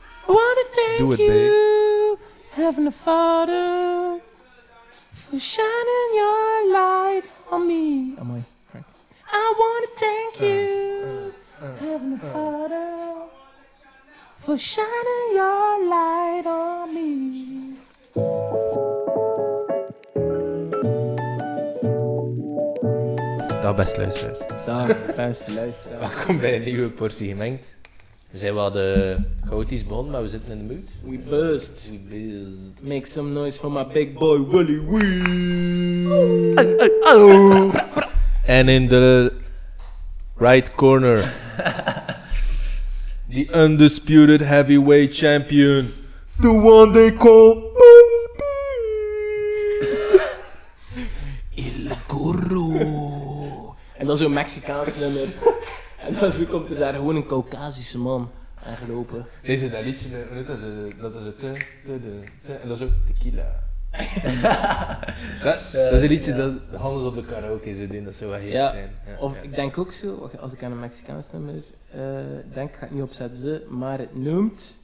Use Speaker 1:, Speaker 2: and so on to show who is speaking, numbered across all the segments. Speaker 1: I wanna thank
Speaker 2: Doe het, babe.
Speaker 1: you, Heavenly Father, for shining your light on me. Oh, mooi. Kijk. I wanna thank you, Heavenly Father, for shining your light on me.
Speaker 3: Dag beste luisteraars.
Speaker 1: Dag, beste luisteraar.
Speaker 3: Welkom bij een nieuwe portie gemengd. We zijn wel de chaotisch begonnen, maar we zitten in de mood.
Speaker 1: We burst.
Speaker 3: We bezig.
Speaker 1: Make some noise for my big boy Willy Wee.
Speaker 3: En in de right corner, the undisputed heavyweight champion, the one they call Money
Speaker 1: El Guru. En dan zo'n Mexicaans nummer. En dan zo komt er daar gewoon een Caucasische man aangelopen.
Speaker 3: Deze dat liedje, eh, hoe heet dat Zo- dat is het te, te, de, te, en dat is ook tequila. dat, dat is een liedje dat Hannes op de karaoke zou doen, dat zou wel heerlijk
Speaker 1: Ja.
Speaker 3: zijn. Ja,
Speaker 1: Of
Speaker 3: ja.
Speaker 1: ik denk ook zo, wacht, als ik aan een Mexicaans nummer eh, denk, ga ik niet opzetten ze, maar het noemt...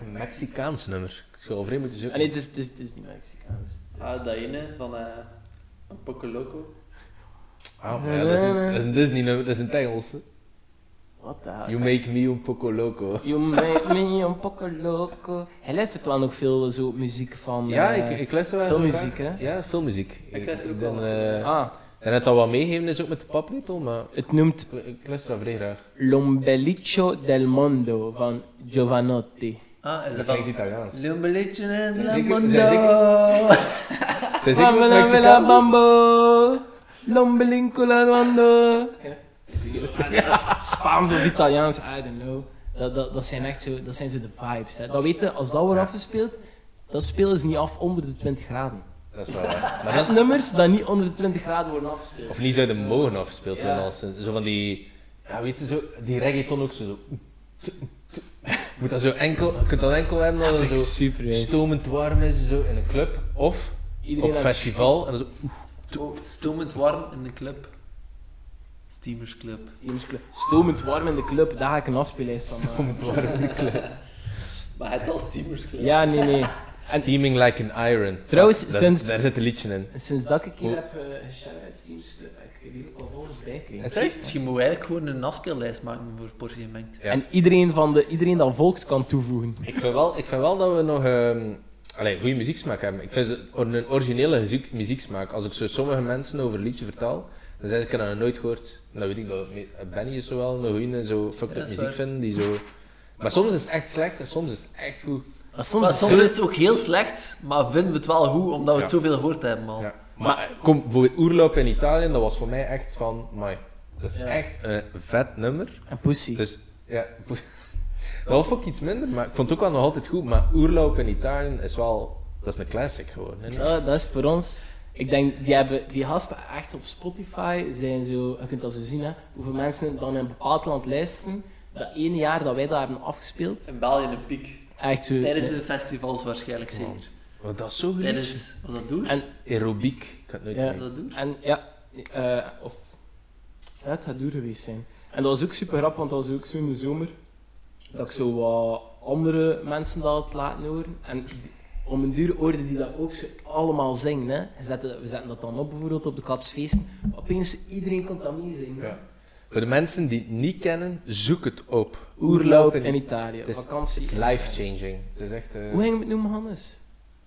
Speaker 3: Een Mexicaans nummer. Ik zou overeen moeten zoeken.
Speaker 1: Ah, nee, het is, het is, het is niet Mexicaans. Het is-
Speaker 4: Ah, dat ene van eh een Poco Loco.
Speaker 3: Ah, maar ja, dat, is niet, dat is een Disney nummer, dat is een Engels.
Speaker 1: What the hell?
Speaker 3: You make me un poco loco.
Speaker 1: You make me un poco loco. Hij luistert wel nog veel zo muziek van...
Speaker 3: Ja,
Speaker 1: eh,
Speaker 3: ik, ik luister wel eens
Speaker 1: filmmuziek,
Speaker 3: graag.
Speaker 1: hè?
Speaker 3: Ja, filmmuziek.
Speaker 4: Ik luister ook
Speaker 3: dan,
Speaker 4: wel.
Speaker 3: eh,
Speaker 1: Ah,
Speaker 3: En het dat wat meegeven is ook met de paplepel, maar
Speaker 1: het noemt
Speaker 3: ik, ik luister dat vrij graag.
Speaker 1: L'ombelico del mondo van Giovanotti.
Speaker 4: Ah, is
Speaker 3: Dat
Speaker 4: dat
Speaker 3: klinkt
Speaker 4: van...
Speaker 3: Italiaans.
Speaker 4: Lumbelitje en
Speaker 3: Zijn zeker-
Speaker 4: Lamondo.
Speaker 3: zijn Zijn
Speaker 1: Ah,
Speaker 3: zeker
Speaker 1: nou
Speaker 3: ook Mexicaans?
Speaker 1: bambo, l'ombelico del mondo. Spaans of Italiaans, I don't know. Dat, dat, dat zijn echt zo, dat zijn zo de vibes. Hè. Dat weten, als dat wordt afgespeeld, dat spelen ze niet af onder de 20 graden.
Speaker 3: Dat is wel waar. Maar
Speaker 1: Dat
Speaker 3: dat
Speaker 1: zijn nummers die niet onder de 20 graden worden afgespeeld.
Speaker 3: Of niet zouden mogen afgespeeld worden
Speaker 1: Ja.
Speaker 3: als een- zo van die, ja weet je zo, die reggaeton ook zo. zo. Je moet dat zo enkel, je kunt dat enkel hebben als het zo
Speaker 1: super
Speaker 3: stomend warm is zo in een club of
Speaker 1: Iedereen
Speaker 3: op
Speaker 1: aan-
Speaker 3: festival en dan zo.
Speaker 4: Oh, Stomend warm in de club. Steamers Club.
Speaker 1: dus Stomend warm in de club, daar ga ik een afspeellijst van eh. maken.
Speaker 3: Stomend warm in de club.
Speaker 4: Maar het al Steamers Club.
Speaker 1: Ja, nee, nee.
Speaker 3: Steaming like an iron.
Speaker 1: Trouwens,
Speaker 3: Dat is-
Speaker 1: sinds-
Speaker 3: daar zit een liedje in.
Speaker 1: Sinds dat ik hier
Speaker 3: Hoe-
Speaker 1: heb eh geshout-out Steamers Club, heb ik heel wat volgers bij gekregen.
Speaker 3: Het
Speaker 4: Zeg, dus je moet eigenlijk gewoon een afspeellijst maken voor Portie Gemengd.
Speaker 3: Ja.
Speaker 1: En iedereen, van de, iedereen dat volgt kan toevoegen.
Speaker 3: Ik vind wel, ik vind wel dat we nog ehm allee, goede muzieksmaak hebben. Ik vind ze or- een originele muziek, muzieksmaak. Als ik zo sommige mensen over een liedje vertel, dan zeg ik dat nog nooit gehoord. En dan weet ik dat me- Benny is zo wel een goeie en zo fucked
Speaker 4: Ja,
Speaker 3: up
Speaker 4: dat is
Speaker 3: muziek
Speaker 4: waar.
Speaker 3: vinden. Die zo... Maar soms is het echt slecht en soms is het echt goed.
Speaker 1: Maar soms,
Speaker 4: Maar
Speaker 1: is
Speaker 4: soms
Speaker 1: zo-
Speaker 4: is het ook heel slecht, maar vinden we het wel goed, omdat we het
Speaker 3: Ja.
Speaker 4: zoveel gehoord hebben al.
Speaker 3: Ja. Maar, eh, kom, voor het oerloop in Italië, dat was voor mij echt van... Mai, dat is
Speaker 1: Ja.
Speaker 3: echt een vet nummer.
Speaker 1: En pussy.
Speaker 3: Dus ja, wel fuck iets minder, maar ik vond het ook wel nog altijd goed. Maar oerloop in Italië is wel, dat is een classic gewoon. hè.
Speaker 1: Ja, dat is voor ons... Ik denk, die, hebben, die gasten echt op Spotify zijn zo... Je kunt dat zo zien, hè. Hoeveel mensen dan in een bepaald land luisteren. Dat ene jaar dat wij dat hebben afgespeeld.
Speaker 4: In België een piek.
Speaker 1: Echt zo...
Speaker 4: Tijdens de festivals waarschijnlijk zeker.
Speaker 3: Want dat is zo goed. liedje.
Speaker 4: Tijdens... Was dat door?
Speaker 1: En-
Speaker 3: Aerobiek. Ik had nooit
Speaker 1: Ja.
Speaker 4: Was
Speaker 3: meer.
Speaker 4: dat door?
Speaker 1: En ja... eh, of... Ja, het gaat duur geweest zijn. En dat was ook super grappig, want dat was ook zo in de zomer. dat ik zo wat andere mensen dat had laten horen. En die- om een duur oorden die dat ook zo allemaal zingen. Hè. Je zet- we zetten dat dan op bijvoorbeeld op de katsfeesten. Opeens iedereen kon dat meezingen.
Speaker 3: Ja. Voor de mensen die het niet kennen, zoek het op.
Speaker 1: Oerloop in Italië,
Speaker 3: Het is-
Speaker 1: vakantie.
Speaker 3: It's life changing. Het is echt. eh,
Speaker 1: Hoe ging het noemen, Hannes?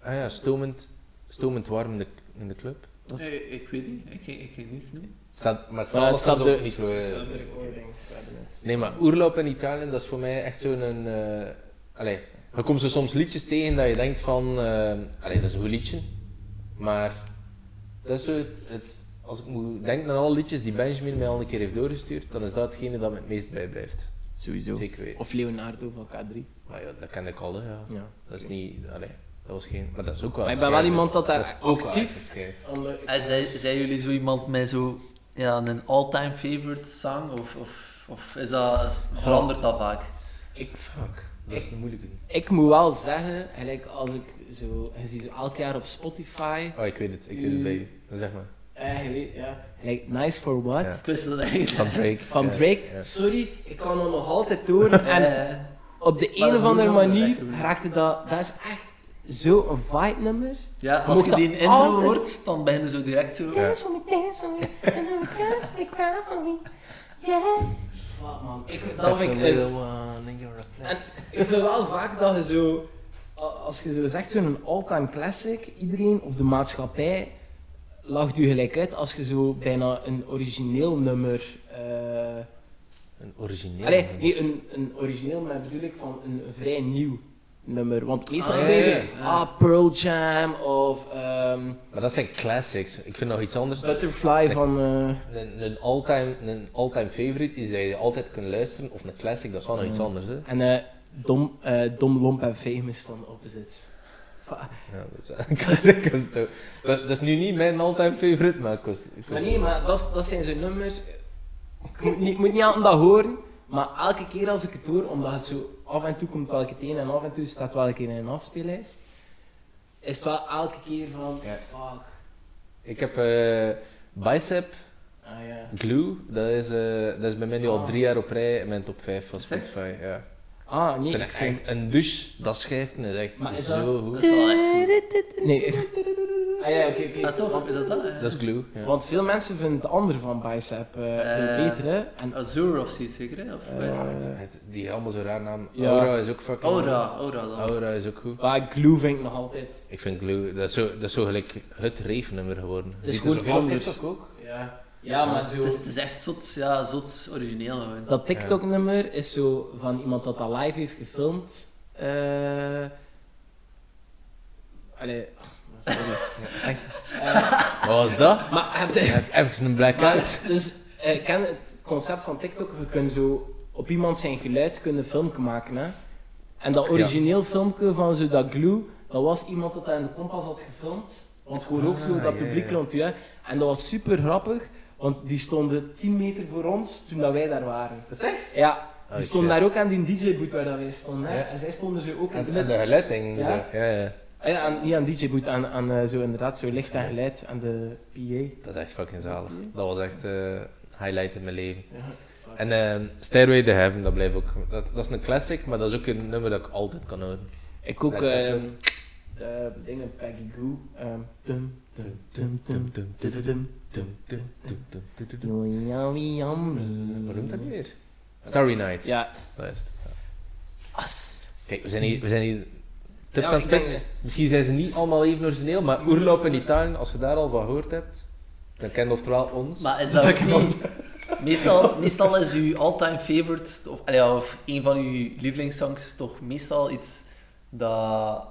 Speaker 3: ah ja, stomend, stomend warm in de, in de club.
Speaker 1: Dat is-
Speaker 4: Nee, ik weet niet. Ik ging, ik ging niets doen.
Speaker 3: Het Staat, maar het staat
Speaker 1: Maar het
Speaker 3: nog
Speaker 1: staat
Speaker 3: op
Speaker 1: de-
Speaker 3: micro. eh.
Speaker 1: de recording. we hebben het.
Speaker 3: Nee, maar oerloop in Italië, dat is voor mij echt zo'n... eh allee, je komt zo soms liedjes tegen dat je denkt van... eh, allee, dat is een goed liedje. Maar dat is zo het, het- Als ik moet denken aan alle liedjes die Benjamin mij al een keer heeft doorgestuurd, dan is dat hetgene dat me het meest bijblijft.
Speaker 1: Sowieso.
Speaker 3: Zeker weten.
Speaker 1: Of Leonardo van K3.
Speaker 3: Maar ja, dat ken ik al, hè, ja.
Speaker 1: Ja.
Speaker 3: Dat is niet... Allee, dat was geen... Maar dat is ook wel...
Speaker 1: Maar ik
Speaker 3: een
Speaker 1: ben wel
Speaker 3: schijf,
Speaker 1: iemand dat
Speaker 3: hè. Dat
Speaker 1: daar
Speaker 3: is ook wel echt een
Speaker 1: actief...
Speaker 3: schijf.
Speaker 1: aan de-
Speaker 4: En zijn, zijn jullie zo iemand met zo ja, een all-time favorite song? Of, of, of is dat, verandert dat vaak?
Speaker 1: Ik
Speaker 3: Fuck. Dat is een moeilijke.
Speaker 1: Ik moet wel zeggen, gelijk als ik zo, je ziet zo elk jaar op Spotify,
Speaker 3: Oh, ik weet het. Ik weet het bij je. Zeg maar.
Speaker 1: eh, je weet, ja, gelijk Nice for What
Speaker 3: Ja.
Speaker 4: Ik wist dat eigenlijk.
Speaker 3: Van Drake.
Speaker 1: van
Speaker 3: Ja,
Speaker 1: Drake.
Speaker 3: ja.
Speaker 1: Sorry, ik kan hem nog altijd door. en
Speaker 4: Eh,
Speaker 1: op de
Speaker 4: dat
Speaker 1: een
Speaker 4: is
Speaker 1: of
Speaker 4: goed
Speaker 1: andere
Speaker 4: nummer,
Speaker 1: manier
Speaker 4: echt goed.
Speaker 1: raakte dat... Dat is echt zo'n vibe nummer.
Speaker 4: Ja,
Speaker 1: Mocht
Speaker 4: als je
Speaker 1: dat
Speaker 4: die intro
Speaker 1: altijd-
Speaker 4: hoort, dan beginnen zo direct zo...
Speaker 3: Ja.
Speaker 2: Dance for me, dance for me, and I'm crying, I'm crying for me. Yeah.
Speaker 1: Fuck man, ik, dat vind ik... een- En ik vind wel vaak dat je zo, a- als je zo zegt, zo'n all-time classic, iedereen of de maatschappij lacht u gelijk uit als je zo bijna een origineel nummer. eh
Speaker 3: Een origineel.
Speaker 1: allee,
Speaker 3: nummer.
Speaker 1: nee, een, een origineel, maar bedoel ik van een vrij nieuw nummer. Want meestal
Speaker 4: Ah,
Speaker 1: ah,
Speaker 3: ja, ja,
Speaker 1: deze,
Speaker 4: ja.
Speaker 1: ah, Pearl Jam of ehm,
Speaker 3: Maar dat zijn classics. Ik vind nog iets anders.
Speaker 1: Butterfly van. eh,
Speaker 3: Een, een all-time een all-time favorite is dat je altijd kunt luisteren. Of een classic, dat is wel nog iets anders. Hè?
Speaker 1: en eh, Dom, eh, Dom Lomp en Famous van Opposites. Va-
Speaker 3: Ja, dat is wel een classic. dat is toch- Dat, dat is nu niet mijn all-time favorite, maar ik was... ik was-
Speaker 1: Maar nee, maar dat, is- dat zijn zo'n nummers. Ik moet niet, ik moet niet aan dat horen, maar elke keer als ik het hoor, omdat het zo af en toe komt welke het een en af en toe staat welke in een afspeellijst, is het wel elke keer van
Speaker 3: Ja.
Speaker 1: fuck.
Speaker 3: Ik heb eh, Bicep,
Speaker 1: Ah ja.
Speaker 3: Glue. Dat is, eh, dat is bij mij nu al
Speaker 1: Ah.
Speaker 3: drie jaar op rij in mijn top 5 van
Speaker 4: Zeg.
Speaker 3: Spotify. Ja.
Speaker 1: Ah nee,
Speaker 3: Ik vind
Speaker 1: ik
Speaker 3: het
Speaker 1: vind.
Speaker 3: echt een douche, dat schijfje is echt
Speaker 1: Maar is dat-
Speaker 3: zo
Speaker 4: Dat
Speaker 3: goed.
Speaker 4: is wel echt goed.
Speaker 1: Nee. Ah ja, oké, oké.
Speaker 4: Ah, toch? Is dat dat? Ja.
Speaker 3: Dat is Glue. Ja.
Speaker 1: Want veel mensen vinden het andere van Bicep eh, veel
Speaker 4: Eh,
Speaker 1: beter, hè? En,
Speaker 4: Azure of zoiets zeker, hè? Of wat is het?
Speaker 1: eh,
Speaker 3: Het- Die allemaal zo raar naam.
Speaker 1: Ja.
Speaker 3: Aura is ook fucking
Speaker 4: Aura, Aura dan.
Speaker 3: Aura is ook goed.
Speaker 1: maar Glue vind ik nog altijd.
Speaker 3: Ik vind Glue, dat is zo, dat is zo gelijk het rave-nummer geworden.
Speaker 1: is Oh, gewoon anders.
Speaker 3: ook.
Speaker 1: Ja. Ja, maar zo.
Speaker 4: Het is, het is echt zot, ja, zot origineel gewoon.
Speaker 1: Dat TikTok-nummer is zo van iemand dat dat live heeft gefilmd. Eh Allee, oh, sorry. Echt. Eh,
Speaker 3: Wat was dat?
Speaker 1: maar heb
Speaker 3: Je
Speaker 1: je...
Speaker 3: hebt even een blackout.
Speaker 1: Maar, dus, eh, ken het concept van TikTok? Je kunt zo op iemand zijn geluid kunnen filmpje maken, hè? En dat origineel filmpje van zo dat glue, dat was iemand dat dat in de kompas had gefilmd. Want gewoon ook zo
Speaker 3: Ah,
Speaker 1: dat
Speaker 3: ja,
Speaker 1: publiek
Speaker 3: ja.
Speaker 1: rond u, hè? En dat was super grappig, want die stonden 10 meter voor ons toen dat wij daar waren.
Speaker 3: Dat is echt?
Speaker 1: Ja,
Speaker 3: Ah,
Speaker 1: die stond daar ook aan die DJ-boot waar dat wij stonden. hè.
Speaker 3: Ja.
Speaker 1: En zij stonden zo ook
Speaker 3: En,
Speaker 1: in het
Speaker 3: en de
Speaker 1: midden.
Speaker 3: geluiding.
Speaker 1: Ja?
Speaker 3: Zo. Ja, ja.
Speaker 1: Ah Ja, aan, niet aan DJ-boot, aan, aan eh, zo inderdaad zo licht en geluid aan de PA.
Speaker 3: Dat is echt fucking zalig. Dat was echt eh highlight in mijn leven.
Speaker 1: Ja,
Speaker 3: En eh Stairway to Heaven, dat blijft ook. Dat, dat is een classic, maar dat is ook een nummer dat ik altijd kan horen.
Speaker 1: Ik ook
Speaker 3: Led Zeppelin.
Speaker 1: ehm, eh, dingen Peggy Goo. ehm, dum, dum, dum, dum,
Speaker 3: Dum, dum,
Speaker 1: dum, dum,
Speaker 3: dum, dum, dum, dum, dum, dum, dum.
Speaker 1: dum, yummy, yummy.
Speaker 3: Eh, Wat noemt dat nu weer? Starry Night.
Speaker 1: Ja.
Speaker 3: Dat is het.
Speaker 1: As.
Speaker 3: Kijk, we zijn hier, we zijn hier
Speaker 1: Ja,
Speaker 3: tips
Speaker 1: maar
Speaker 3: aan het
Speaker 1: ik denk-
Speaker 3: spreken. Misschien zijn ze niet allemaal even origineel, maar oerloop in Italië, als je daar al van gehoord hebt, dan kent oftewel ons.
Speaker 4: Maar is dat ook niet... Meestal, meestal is uw all-time favorite, of, allee, ja, of een van uw lievelingssongs, toch meestal iets dat,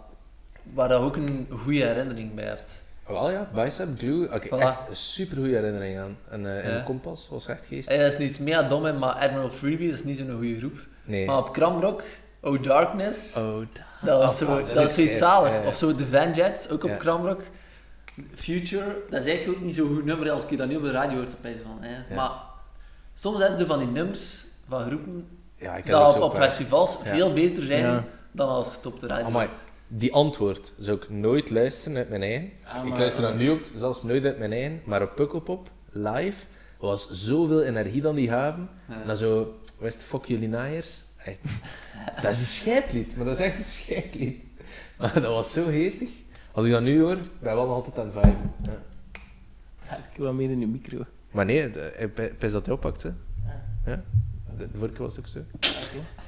Speaker 4: waar je ook een goede herinnering bij hebt.
Speaker 3: Wel ja, Bicep, Glue, oké,
Speaker 4: Voilà.
Speaker 3: echt een supergoeie herinnering aan. En eh, in
Speaker 4: Ja. Eh,
Speaker 3: de Kompas was echt geest.
Speaker 4: Allee, dat is nu iets meer dom, hè, maar Admiral Freebie, dat is niet zo'n goede groep.
Speaker 3: Nee.
Speaker 4: Maar op Kramrock, Oh Darkness,
Speaker 3: Oh,
Speaker 4: dat was,
Speaker 3: oh,
Speaker 4: zo,
Speaker 3: fuck,
Speaker 4: dat
Speaker 3: dat
Speaker 4: was
Speaker 3: is
Speaker 4: zoiets
Speaker 3: shit,
Speaker 4: zalig.
Speaker 3: ja, ja.
Speaker 4: Of zo The Van Jets, ook op
Speaker 3: Ja.
Speaker 4: Kramrock. Future, dat is eigenlijk ook niet zo'n goed nummer hè, als ik dat nu op de radio hoort opeens van. Hè.
Speaker 3: Ja.
Speaker 4: Maar soms hebben ze van die nummers van groepen
Speaker 3: ja, ik heb ook
Speaker 4: dat
Speaker 3: zo
Speaker 4: op, op
Speaker 3: paar.
Speaker 4: festivals
Speaker 3: Ja.
Speaker 4: veel beter zijn
Speaker 1: Ja.
Speaker 4: dan als het op de radio
Speaker 3: Amai.
Speaker 4: wordt.
Speaker 3: Die antwoord zou ik nooit luisteren uit mijn eigen.
Speaker 1: Ah,
Speaker 3: ik
Speaker 1: maar-
Speaker 3: luister dat nu ook, zelfs nooit uit mijn eigen. Maar op Pukkelpop, live, was zoveel energie dan die haven.
Speaker 4: Ja.
Speaker 3: En dan zo, wist fuck jullie naaiers. Echt. dat is een scheidlied, maar dat is echt een scheidlied. Maar dat was zo geestig. Als ik dat nu hoor, ben ik wel nog altijd aan het viben. Ja.
Speaker 1: Praat ik wat meer in de micro.
Speaker 3: Maar nee, de- eh, pe- pis dat hij oppakt, hè.
Speaker 1: Ah.
Speaker 3: Ja. De, de vorige keer was het ook zo.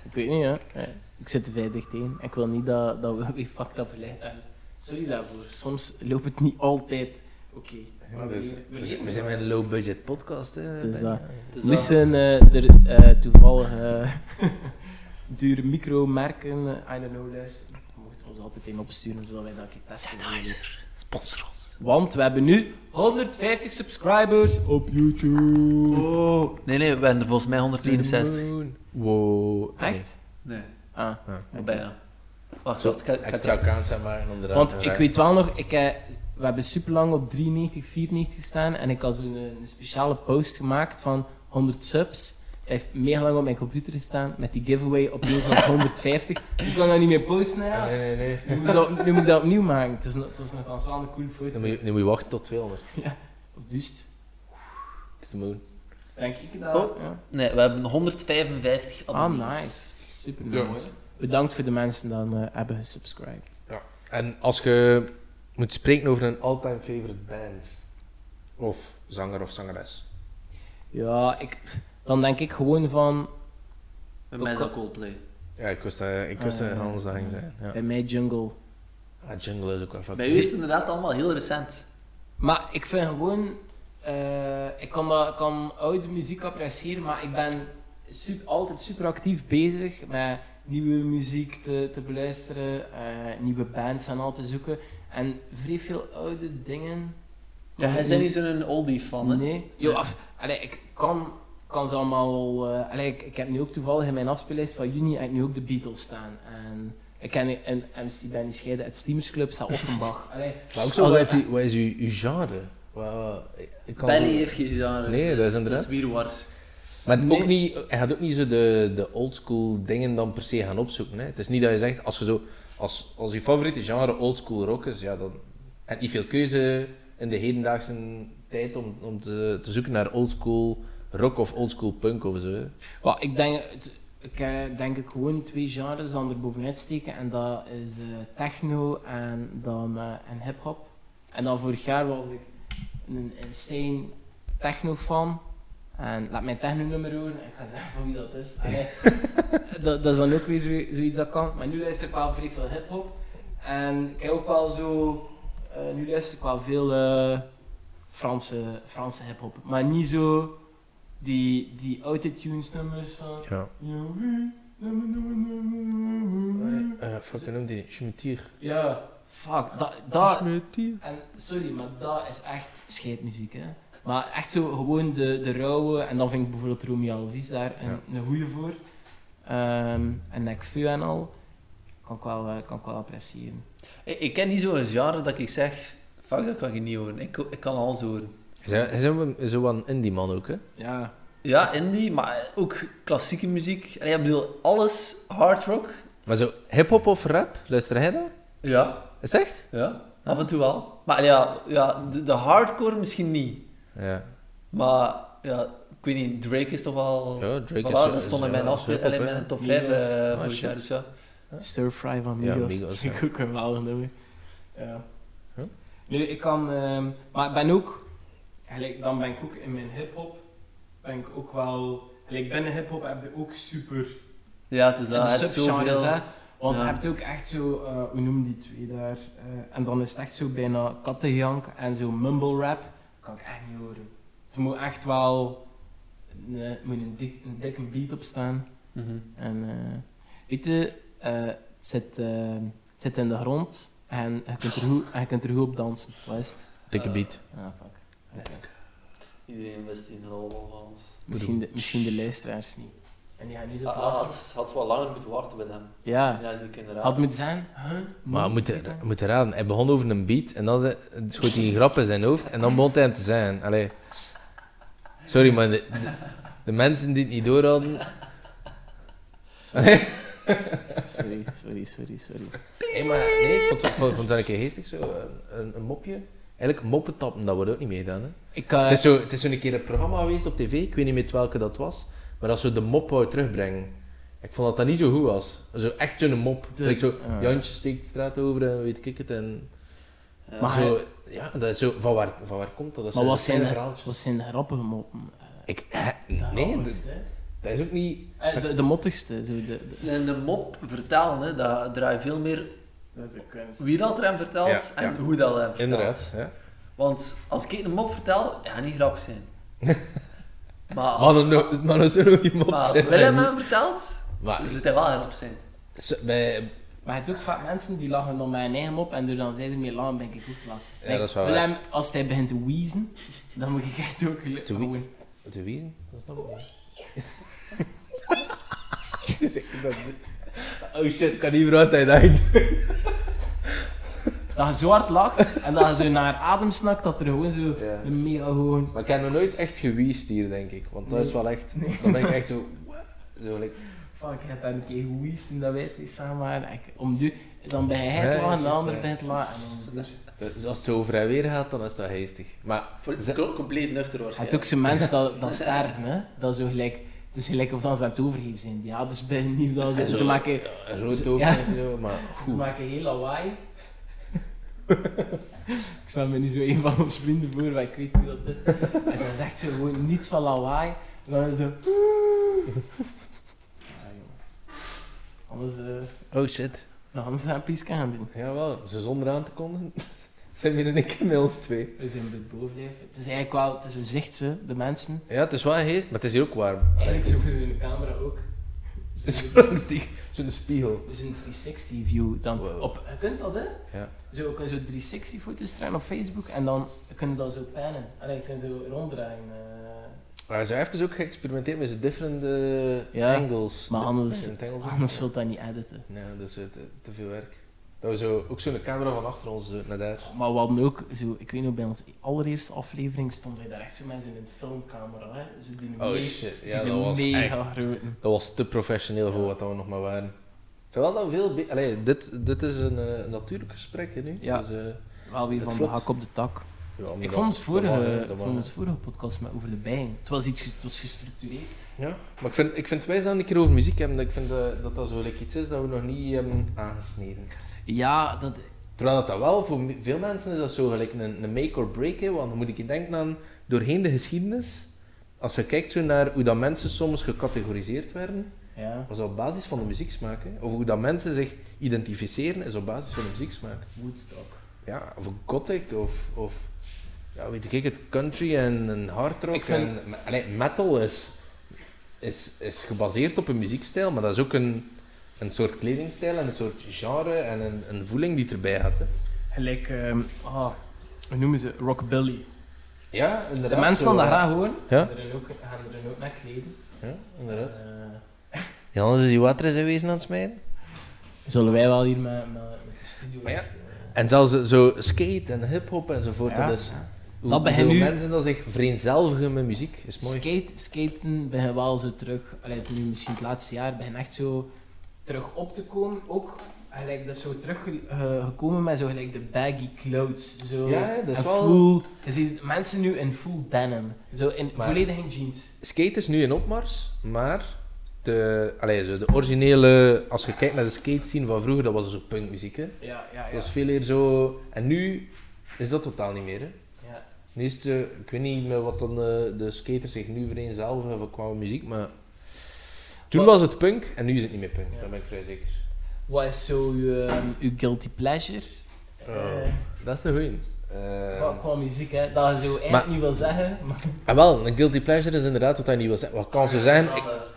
Speaker 1: Ik weet niet, hè. Eh, Ik zit te vrij dichtteen. Ik wil niet dat, dat we weer fucked up beleid hebben. Sorry daarvoor. Soms loopt het niet altijd oké. Maar we-
Speaker 3: Dus-
Speaker 1: we-
Speaker 3: we, zijn- we zijn met een low-budget podcast, hè.
Speaker 1: Dus dat-
Speaker 4: Dus dat-
Speaker 1: Moesten eh er eh, toevallig eh, dure micromerken, eh, I don't know, luisteren? Je mocht ons altijd een opsturen zodat wij dat een keer testen.
Speaker 4: Sponsor ons.
Speaker 1: Want we hebben nu 150 subscribers op YouTube.
Speaker 4: Nee, nee, we hebben er volgens mij 161.
Speaker 3: Wow.
Speaker 1: Echt?
Speaker 4: Nee,
Speaker 1: Ah.
Speaker 4: maar bijna. Wacht,
Speaker 3: Zo,
Speaker 4: wacht, ik ga- ik ga
Speaker 3: extra accounts zijn maar inderdaad.
Speaker 1: Want ik weet wel nog, ik, eh, we hebben super lang op 93, 94 gestaan en ik had zo'n eh, een speciale post gemaakt van 100 subs. Hij heeft mega lang op mijn computer gestaan met die giveaway opeens was 150. Ik kan dat niet meer posten, hè.
Speaker 3: Nee, nee, nee.
Speaker 1: Nu moet ik dat, nu moet ik dat opnieuw maken. Het, is, no- het was nogthans wel een coole foto.
Speaker 3: Dan moet, je, dan moet je wachten tot 200.
Speaker 1: Of duist.
Speaker 3: To the moon.
Speaker 1: Denk ik dat.
Speaker 4: Oh.
Speaker 1: Ja.
Speaker 4: Nee, we hebben 155
Speaker 1: Ah,
Speaker 4: abonnees.
Speaker 1: nice. Super nice. Bedankt voor de mensen die dan eh, hebben gesubscribed.
Speaker 3: En als je moet spreken over een all-time favorite band, of zanger of zangeres.
Speaker 1: Ja, ik, dan denk ik gewoon van
Speaker 4: Met mij is dat
Speaker 1: Ook-
Speaker 4: Coldplay.
Speaker 3: Ja, ik wist, eh, ik wist
Speaker 1: Ah,
Speaker 3: dat
Speaker 1: ja.
Speaker 3: Hans dat ging zijn. Ja.
Speaker 1: bij mij Jungle.
Speaker 3: Ah, Jungle is ook wel fucking-
Speaker 4: Bij u is het inderdaad allemaal heel recent.
Speaker 1: Maar ik vind gewoon, eh, ik kan, dat, ik kan oude muziek appreciëren, maar ik ben sup- altijd super actief bezig met nieuwe muziek te, te beluisteren, eh, nieuwe bands aan al te zoeken. En vrij veel oude dingen.
Speaker 4: Ja, hij zijn niet zo'n oldie fan, hè?
Speaker 1: Nee. Jo, af, allee, ik kan, kan ze allemaal. eh, allee, ik, ik heb nu ook toevallig in mijn afspeellijst van juni heb ik nu ook de Beatles staan. En ik ken en MC Benny Scheiden uit Steams Club staat Offenbach. Allee,
Speaker 3: Maar ook zo,
Speaker 1: Als
Speaker 3: wat
Speaker 1: het-
Speaker 3: is, die- wat is uw, uw genre? Wat- ik kan-
Speaker 4: Benny heeft geen genre.
Speaker 3: Nee, dat is inderdaad.
Speaker 4: Dat is weer waar.
Speaker 3: Maar
Speaker 1: Nee.
Speaker 3: ook niet, hij gaat ook niet zo de, de oldschool dingen dan per se gaan opzoeken. Hè. Het is niet dat je zegt, als je zo, als, als je favoriete genre oldschool rock is, ja, dan heb je niet veel keuze in de hedendaagse tijd om, om te, te zoeken naar oldschool rock of oldschool punk of zo. hè.
Speaker 1: Wel, ik denk, het- ik eh, denk ik gewoon twee genres dan er bovenuit steken. En dat is eh, techno en dan eh, en hip-hop. En dan vorig jaar was ik een insane techno-fan. En laat mijn techno-nummer horen. Ik ga zeggen van wie dat is. Allee, dat, dat is dan ook weer zo- zoiets dat kan. Maar nu luister ik wel vrij veel hip-hop. En ik heb ook wel zo. eh, nu luister ik wel veel eh, Franse, Franse hip-hop. Maar niet zo die, die autotunes-nummers van.
Speaker 3: Ja. Eh, fuck, hoe noemt die? Schmetier.
Speaker 1: Ja, fuck. Dat, dat,
Speaker 3: Schmetier.
Speaker 1: en sorry, maar dat is echt scheidmuziek, hè. Maar echt zo gewoon de, de rauwe, en dan vind ik bijvoorbeeld Romeo Elvis daar een, een goeie voor. Ehm, en Nek Vu en al. Kan ik wel, eh, kan ik wel appreciëren.
Speaker 4: Ik, ik ken niet zo'n genre dat ik zeg, fuck, dat kan je niet horen. Ik, ik kan alles horen.
Speaker 3: Hij is zo een indie man ook, hè?
Speaker 1: Ja.
Speaker 4: Ja, indie, maar ook klassieke muziek. En ik bedoel, alles hard rock.
Speaker 3: Maar zo hip-hop of rap, luister jij dat?
Speaker 4: Ja,
Speaker 3: Is het echt?
Speaker 4: ja, af en toe wel. Maar ja, ja de, de hardcore misschien niet.
Speaker 3: Ja.
Speaker 4: Maar ja, ik weet niet, Drake is toch wel...
Speaker 3: Ja, Drake
Speaker 4: voilà,
Speaker 3: is-
Speaker 4: dat
Speaker 3: is-
Speaker 4: stond in
Speaker 3: ja,
Speaker 4: mijn,
Speaker 3: is
Speaker 4: afspeel,
Speaker 3: hip-hop,
Speaker 4: alleen
Speaker 3: hè.
Speaker 4: mijn top
Speaker 1: Migos.
Speaker 4: 5 eh
Speaker 3: Ah,
Speaker 4: vorig
Speaker 3: shit.
Speaker 4: jaar, dus ja.
Speaker 1: Stir Fry van
Speaker 3: Ja,
Speaker 1: Migos.
Speaker 3: Migos,
Speaker 1: Vind ik ook een wel nummer. Ja.
Speaker 3: Huh?
Speaker 1: Nu, ik kan... ehm, maar ik ben ook... Eigenlijk, dan ben ik ook in mijn hip-hop... Ben ik ook wel... Eigenlijk, binnen hip-hop heb je ook super...
Speaker 3: Dus
Speaker 4: Ja, het is dat.
Speaker 1: de
Speaker 4: Het is
Speaker 1: subgenres,
Speaker 4: zoveel...
Speaker 1: hè. Want
Speaker 4: Ja.
Speaker 1: je hebt ook echt zo, eh, hoe noem die twee daar? eh, en dan is het echt zo bijna kattenjank en zo mumble rap. Kan ik echt niet horen. Het moet echt wel een, eh, moet een, dik, een dikke beat op staan.
Speaker 4: Mhm.
Speaker 1: En eh weet je, eh, het, zit, eh, het zit in de grond en je kunt er goed, en je kunt er goed op dansen. Wat is het?
Speaker 3: Dikke beat.
Speaker 1: Ah, fuck. Oké.
Speaker 4: Iedereen wist in de rol van
Speaker 1: Misschien, de, misschien de luisteraars niet. En die gaan nu zo te
Speaker 4: Ah,
Speaker 1: lachen.
Speaker 4: had, had wel langer moeten wachten bij hem.
Speaker 1: Ja,
Speaker 4: Hij is niet kunnen
Speaker 1: had
Speaker 4: raden.
Speaker 1: moeten zijn. Huh?
Speaker 3: Maar we
Speaker 1: Nee,
Speaker 3: moeten,
Speaker 1: weet dat.
Speaker 3: we moeten raden, hij begon over een beat en dan ze- schoot hij een grap in zijn hoofd en dan begon hij aan te zijn. Allee. Sorry, maar de, de, de mensen die het niet door hadden.
Speaker 1: Sorry. sorry, sorry, sorry, sorry.
Speaker 3: Hey, maar nee, ik vond, het- ik vond, ik vond het een keer geestig zo, een- een, een mopje. Eigenlijk moppen tappen, dat wordt ook niet meer gedaan. Hè.
Speaker 1: Ik, eh,
Speaker 3: Het is zo, het is zo een keer een programma geweest op tv, ik weet niet meer welke dat was, maar dat ze de mop wou terugbrengen. Ik vond dat dat niet zo goed was. Zo echt zo'n mop.
Speaker 1: De-
Speaker 3: Like zo,
Speaker 1: ah.
Speaker 3: Jantje steekt de straat over en weet ik het en...
Speaker 4: Ja.
Speaker 1: Maar
Speaker 3: zo, ja, dat is zo, van, waar, van waar komt dat? dat
Speaker 1: maar
Speaker 3: zo
Speaker 1: wat zijn,
Speaker 3: kleine
Speaker 1: de-
Speaker 3: verhaaltjes.
Speaker 1: wat zijn de grappige Eh, moppen?
Speaker 3: Ik, hè, nee, dus- dat, dat is ook niet...
Speaker 1: Eh, de, de mottigste. Zo de, de,
Speaker 4: En de mop vertalen, hè, dat draait veel meer
Speaker 1: dat is de kunst.
Speaker 4: wie dat er hem vertelt
Speaker 3: Ja,
Speaker 4: en
Speaker 3: ja.
Speaker 4: hoe dat hem vertelt.
Speaker 3: Inderdaad. Ja.
Speaker 4: Want als ik een mop vertel, ja, niet grappig zijn. maar
Speaker 1: Ah,
Speaker 3: Maar
Speaker 4: als,
Speaker 3: dat no- maar dat zullen we niet
Speaker 4: maar als
Speaker 3: mopsen.
Speaker 4: Willem hem vertelt,
Speaker 3: Maar
Speaker 4: is het wel grappig zijn.
Speaker 3: s- bij,
Speaker 1: Maar je hebt ook vaak mensen die lachen dan mijn eigen mop en door dan zij ermee lachen ben ik ook lachen.
Speaker 3: Ja, dat is wel
Speaker 1: Willem, als hij begint te wheezen, dan moet ik echt ook le-
Speaker 3: Te wie-
Speaker 1: gewoon...
Speaker 3: de wiezen? Dat is nog wel. Oh shit, ik kan niet meer uit hij denkt.
Speaker 1: Dat je zo hard lacht en dat je zo naar adem snakt, dat er gewoon zo
Speaker 3: Ja.
Speaker 1: een mega gewoon...
Speaker 3: Maar ik heb nog nooit echt gewiest hier, denk ik. Want dat is wel echt... Dan ben ik echt zo... Zo like,
Speaker 1: Fuck, ik heb daar een keer gewheezed toen dat wij twee samen waren. En ik- Om duur, dan ben jij het
Speaker 3: Ja,
Speaker 1: lachen en de
Speaker 3: juist,
Speaker 1: ander
Speaker 3: ja.
Speaker 1: bij het lachen. En om duur-
Speaker 3: dus als het zo over en weer gaat, dan is dat geestig. Maar...
Speaker 4: Voor- compleet nuchter
Speaker 1: Het is ook
Speaker 4: waarschijnlijk.
Speaker 1: zo mensen dat, dat sterven, hè? Dat is zo gelijk. Het is gelijk of dat ze aan het overgeven zijn. Ja, dus bij niet dat ze...
Speaker 3: En
Speaker 1: Ze
Speaker 3: zo.
Speaker 1: maken,
Speaker 3: Ja, rood
Speaker 1: Ze-
Speaker 3: over
Speaker 1: ja.
Speaker 3: en zo, maar
Speaker 1: ze
Speaker 3: goed.
Speaker 1: maken heel lawaai. ik stel me niet zo een van ons vrienden voor, maar ik weet hoe dat is. En dan zegt ze gewoon niets van lawaai. En dan is het zo... Ah, Ja, joh. Anders... eh,
Speaker 4: Oh shit.
Speaker 1: Nou, anders zijn we iets gaan doen.
Speaker 3: Jawel, ze zonder aan te kondigen zijn we in één keer met ons twee.
Speaker 1: We zijn bij het bovenleven. Het is eigenlijk wel, het is een zicht, ze, de mensen.
Speaker 3: Ja, het is wel heet, maar het is hier ook warm.
Speaker 1: Eigenlijk zoeken ze in de camera ook. Zo'n
Speaker 3: Zo'n stie- zo'n spiegel.
Speaker 1: dus een 360 view dan.
Speaker 3: Wow.
Speaker 1: Op, je kunt dat, hè?
Speaker 3: Ja.
Speaker 1: Zo, je kunt zo 360 foto's trekken op Facebook en dan kun je dat zo pannen. En je kunt zo ronddraaien. eh.
Speaker 3: Maar ze hebben even ook geëxperimenteerd met zo'n different eh,
Speaker 1: Ja,
Speaker 3: angles.
Speaker 1: maar anders-
Speaker 3: Different angles ook.
Speaker 1: Ah, Anders wil dat niet editen.
Speaker 3: Ja, dat is eh, te, te veel werk. Dat we zo, ook zo'n camera van achter ons eh, naar daar.
Speaker 1: Maar we hadden ook, zo, ik weet nog, bij onze allereerste aflevering stonden wij daar echt zo met zo'n filmcamera. Hè? Zo die
Speaker 3: Oh
Speaker 1: me-
Speaker 3: shit,
Speaker 1: die
Speaker 3: ja, dat was echt
Speaker 1: mega grote.
Speaker 3: Dat was te professioneel voor wat we nog maar waren. Terwijl dat veel... be- Allee, dit, dit is een eh, natuurlijk gesprek hè, nu.
Speaker 1: Ja.
Speaker 3: Dus, eh,
Speaker 1: Wel weer
Speaker 3: Het
Speaker 1: van
Speaker 3: vlot.
Speaker 1: de hak op de tak.
Speaker 3: ja, maar
Speaker 1: Ik
Speaker 3: dat-
Speaker 1: vond ons
Speaker 3: dat
Speaker 1: vorige,
Speaker 3: mag, hè, dat
Speaker 1: ik
Speaker 3: mag,
Speaker 1: vond
Speaker 3: hè.
Speaker 1: ons vorige podcast met Over de Bijen. Het was, iets, ge- het was gestructureerd.
Speaker 3: Ja, maar ik vind, ik vind wij zijn een keer over muziek hebben. dat Ik vind eh, dat dat zo like, iets is dat we nog niet hebben aangesneden.
Speaker 1: Ja, dat,
Speaker 3: Terwijl dat, dat wel, voor me- veel mensen is dat zo gelijk een, een make or break. Hè, want dan moet ik je denken aan doorheen de geschiedenis. Als je kijkt zo naar hoe dat mensen soms gecategoriseerd werden,
Speaker 1: ja.
Speaker 3: was dat op basis van de muzieksmaak. Hè. Of hoe dat mensen zich identificeren, is op basis van de muzieksmaak.
Speaker 1: Woodstock.
Speaker 3: Ja, of gothic, of, of ja, weet ik het, country en, en hard rock.
Speaker 1: Ik vind-
Speaker 3: en, me- allee, metal is, is, is gebaseerd op een muziekstijl, maar dat is ook een, een soort kledingstijl en een soort genre en een, een voeling die erbij gaat. Hè.
Speaker 1: Gelijk, ehm, ah, hoe noemen ze? Rockabilly.
Speaker 3: Ja, inderdaad.
Speaker 1: De mensen
Speaker 3: zo,
Speaker 1: dan dat
Speaker 3: eh,
Speaker 1: graag horen,
Speaker 3: Ja.
Speaker 1: gaan er ook, gaan er ook naar kleden.
Speaker 3: Ja, inderdaad.
Speaker 1: Eh,
Speaker 3: Ja, anders is die water is wezen aan het smijten.
Speaker 1: zullen wij wel hier met, met, met de studio...
Speaker 3: Maar ja,
Speaker 1: eh,
Speaker 3: En zelfs zo skate en hip-hop enzovoort.
Speaker 1: Ja.
Speaker 3: Dat is hoe,
Speaker 1: Dat begint
Speaker 3: hoeveel
Speaker 1: nu-
Speaker 3: mensen dat zich vereenzelvigen met muziek is mooi.
Speaker 1: skate, skaten begint wel zo terug, allee, het nu misschien het laatste jaar, begint echt zo terug op te komen. Ook, gelijk, dat is zo teruggekomen met zo gelijk de baggy clothes. Zo.
Speaker 3: Ja, ja, dat is
Speaker 1: en
Speaker 3: wel-
Speaker 1: full, je ziet mensen nu in full denim. Zo in
Speaker 3: Maar-
Speaker 1: volledig in jeans.
Speaker 3: skate is nu in opmars, maar de, allee, zo, de originele, als je kijkt naar de skate scene van vroeger, dat was zo punkmuziek. Hè?
Speaker 1: Ja, ja,
Speaker 3: Dat
Speaker 1: ja.
Speaker 3: was veel eer zo. En nu is dat totaal niet meer. Hè?
Speaker 1: ja.
Speaker 3: Nu is het, eh, ik weet niet meer wat dan eh, de skaters zich nu vereenzelvigen van qua muziek, maar toen
Speaker 1: Wat-
Speaker 3: was het punk en nu is het niet meer punk,
Speaker 1: Ja.
Speaker 3: daar ben ik vrij zeker.
Speaker 1: Wat is zo uw, ehm, uw guilty pleasure?
Speaker 3: Oh.
Speaker 1: Eh,
Speaker 3: Dat is een goeie. Eh,
Speaker 1: qua, qua muziek, hè. Dat je zo echt
Speaker 3: Maar-
Speaker 1: niet wil zeggen, maar...
Speaker 3: ah, wel, een guilty pleasure is inderdaad wat hij niet wil zeggen. Wat kan ze zijn? Ik-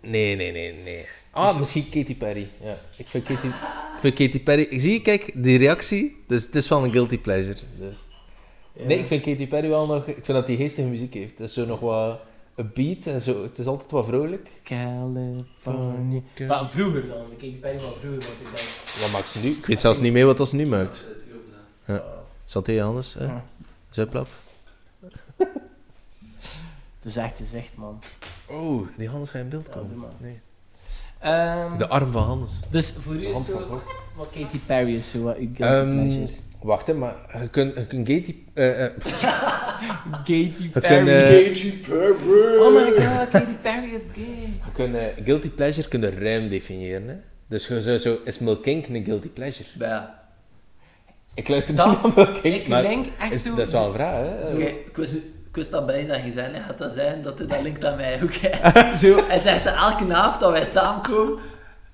Speaker 3: Nee, nee, nee, nee. Ah, misschien Katy Perry. Ja, ik vind Katy, ik vind Katy Perry. Ik zie, kijk, die reactie. Dus het is wel een guilty pleasure. Dus. Nee, ik vind Katy Perry wel nog. Ik vind dat die geestige muziek heeft. Het is zo nog wat een beat en zo. Het is altijd wat vrolijk.
Speaker 1: California... Maar vroeger dan, ik keek bijna wel vroeger, want ik denk...
Speaker 3: Wat maakt ze nu? Ik weet zelfs niet meer wat dat ze nu maakt. Ja.
Speaker 1: "Oh,
Speaker 3: Saté anders, hè?
Speaker 1: Ja.
Speaker 3: Zuiplap.
Speaker 1: Het is echt, het is echt, man.
Speaker 3: Oh, die Hannes gaat in beeld
Speaker 1: Ja, doe
Speaker 3: komen.
Speaker 1: maar.
Speaker 3: Nee.
Speaker 1: Ehm,
Speaker 3: De arm van Hannes.
Speaker 1: dus voor u
Speaker 3: De
Speaker 1: is
Speaker 3: hand van
Speaker 1: zo...
Speaker 3: God.
Speaker 1: Wat Katy Perry is zo, wat uw guilty
Speaker 3: Ehm,
Speaker 1: pleasure?
Speaker 3: Wacht, hè, maar je kunt, je kunt Katy... eh, eh,
Speaker 1: Katy
Speaker 3: we
Speaker 1: Perry!
Speaker 3: kunnen-
Speaker 1: Oh my god, Katy Perry is gay!
Speaker 3: Je kunt, eh, guilty pleasure kunnen ruim definiëren. Hè? Dus je zou zo, is Milk Inc. een guilty pleasure?
Speaker 4: Ja.
Speaker 3: Ik luister
Speaker 1: Dat-
Speaker 3: niet naar Milk Inc.
Speaker 1: Ik
Speaker 3: maar
Speaker 1: denk echt
Speaker 3: is-
Speaker 1: zo...
Speaker 3: dat is wel een vraag, hè?
Speaker 4: Zo, ik, wist, ik wist dat Brian dat ging zijn. Hij gaat dat zijn dat hij dat linkt aan mij ook. hè.
Speaker 1: zo
Speaker 4: Hij zegt dat elke avond dat wij samenkomen,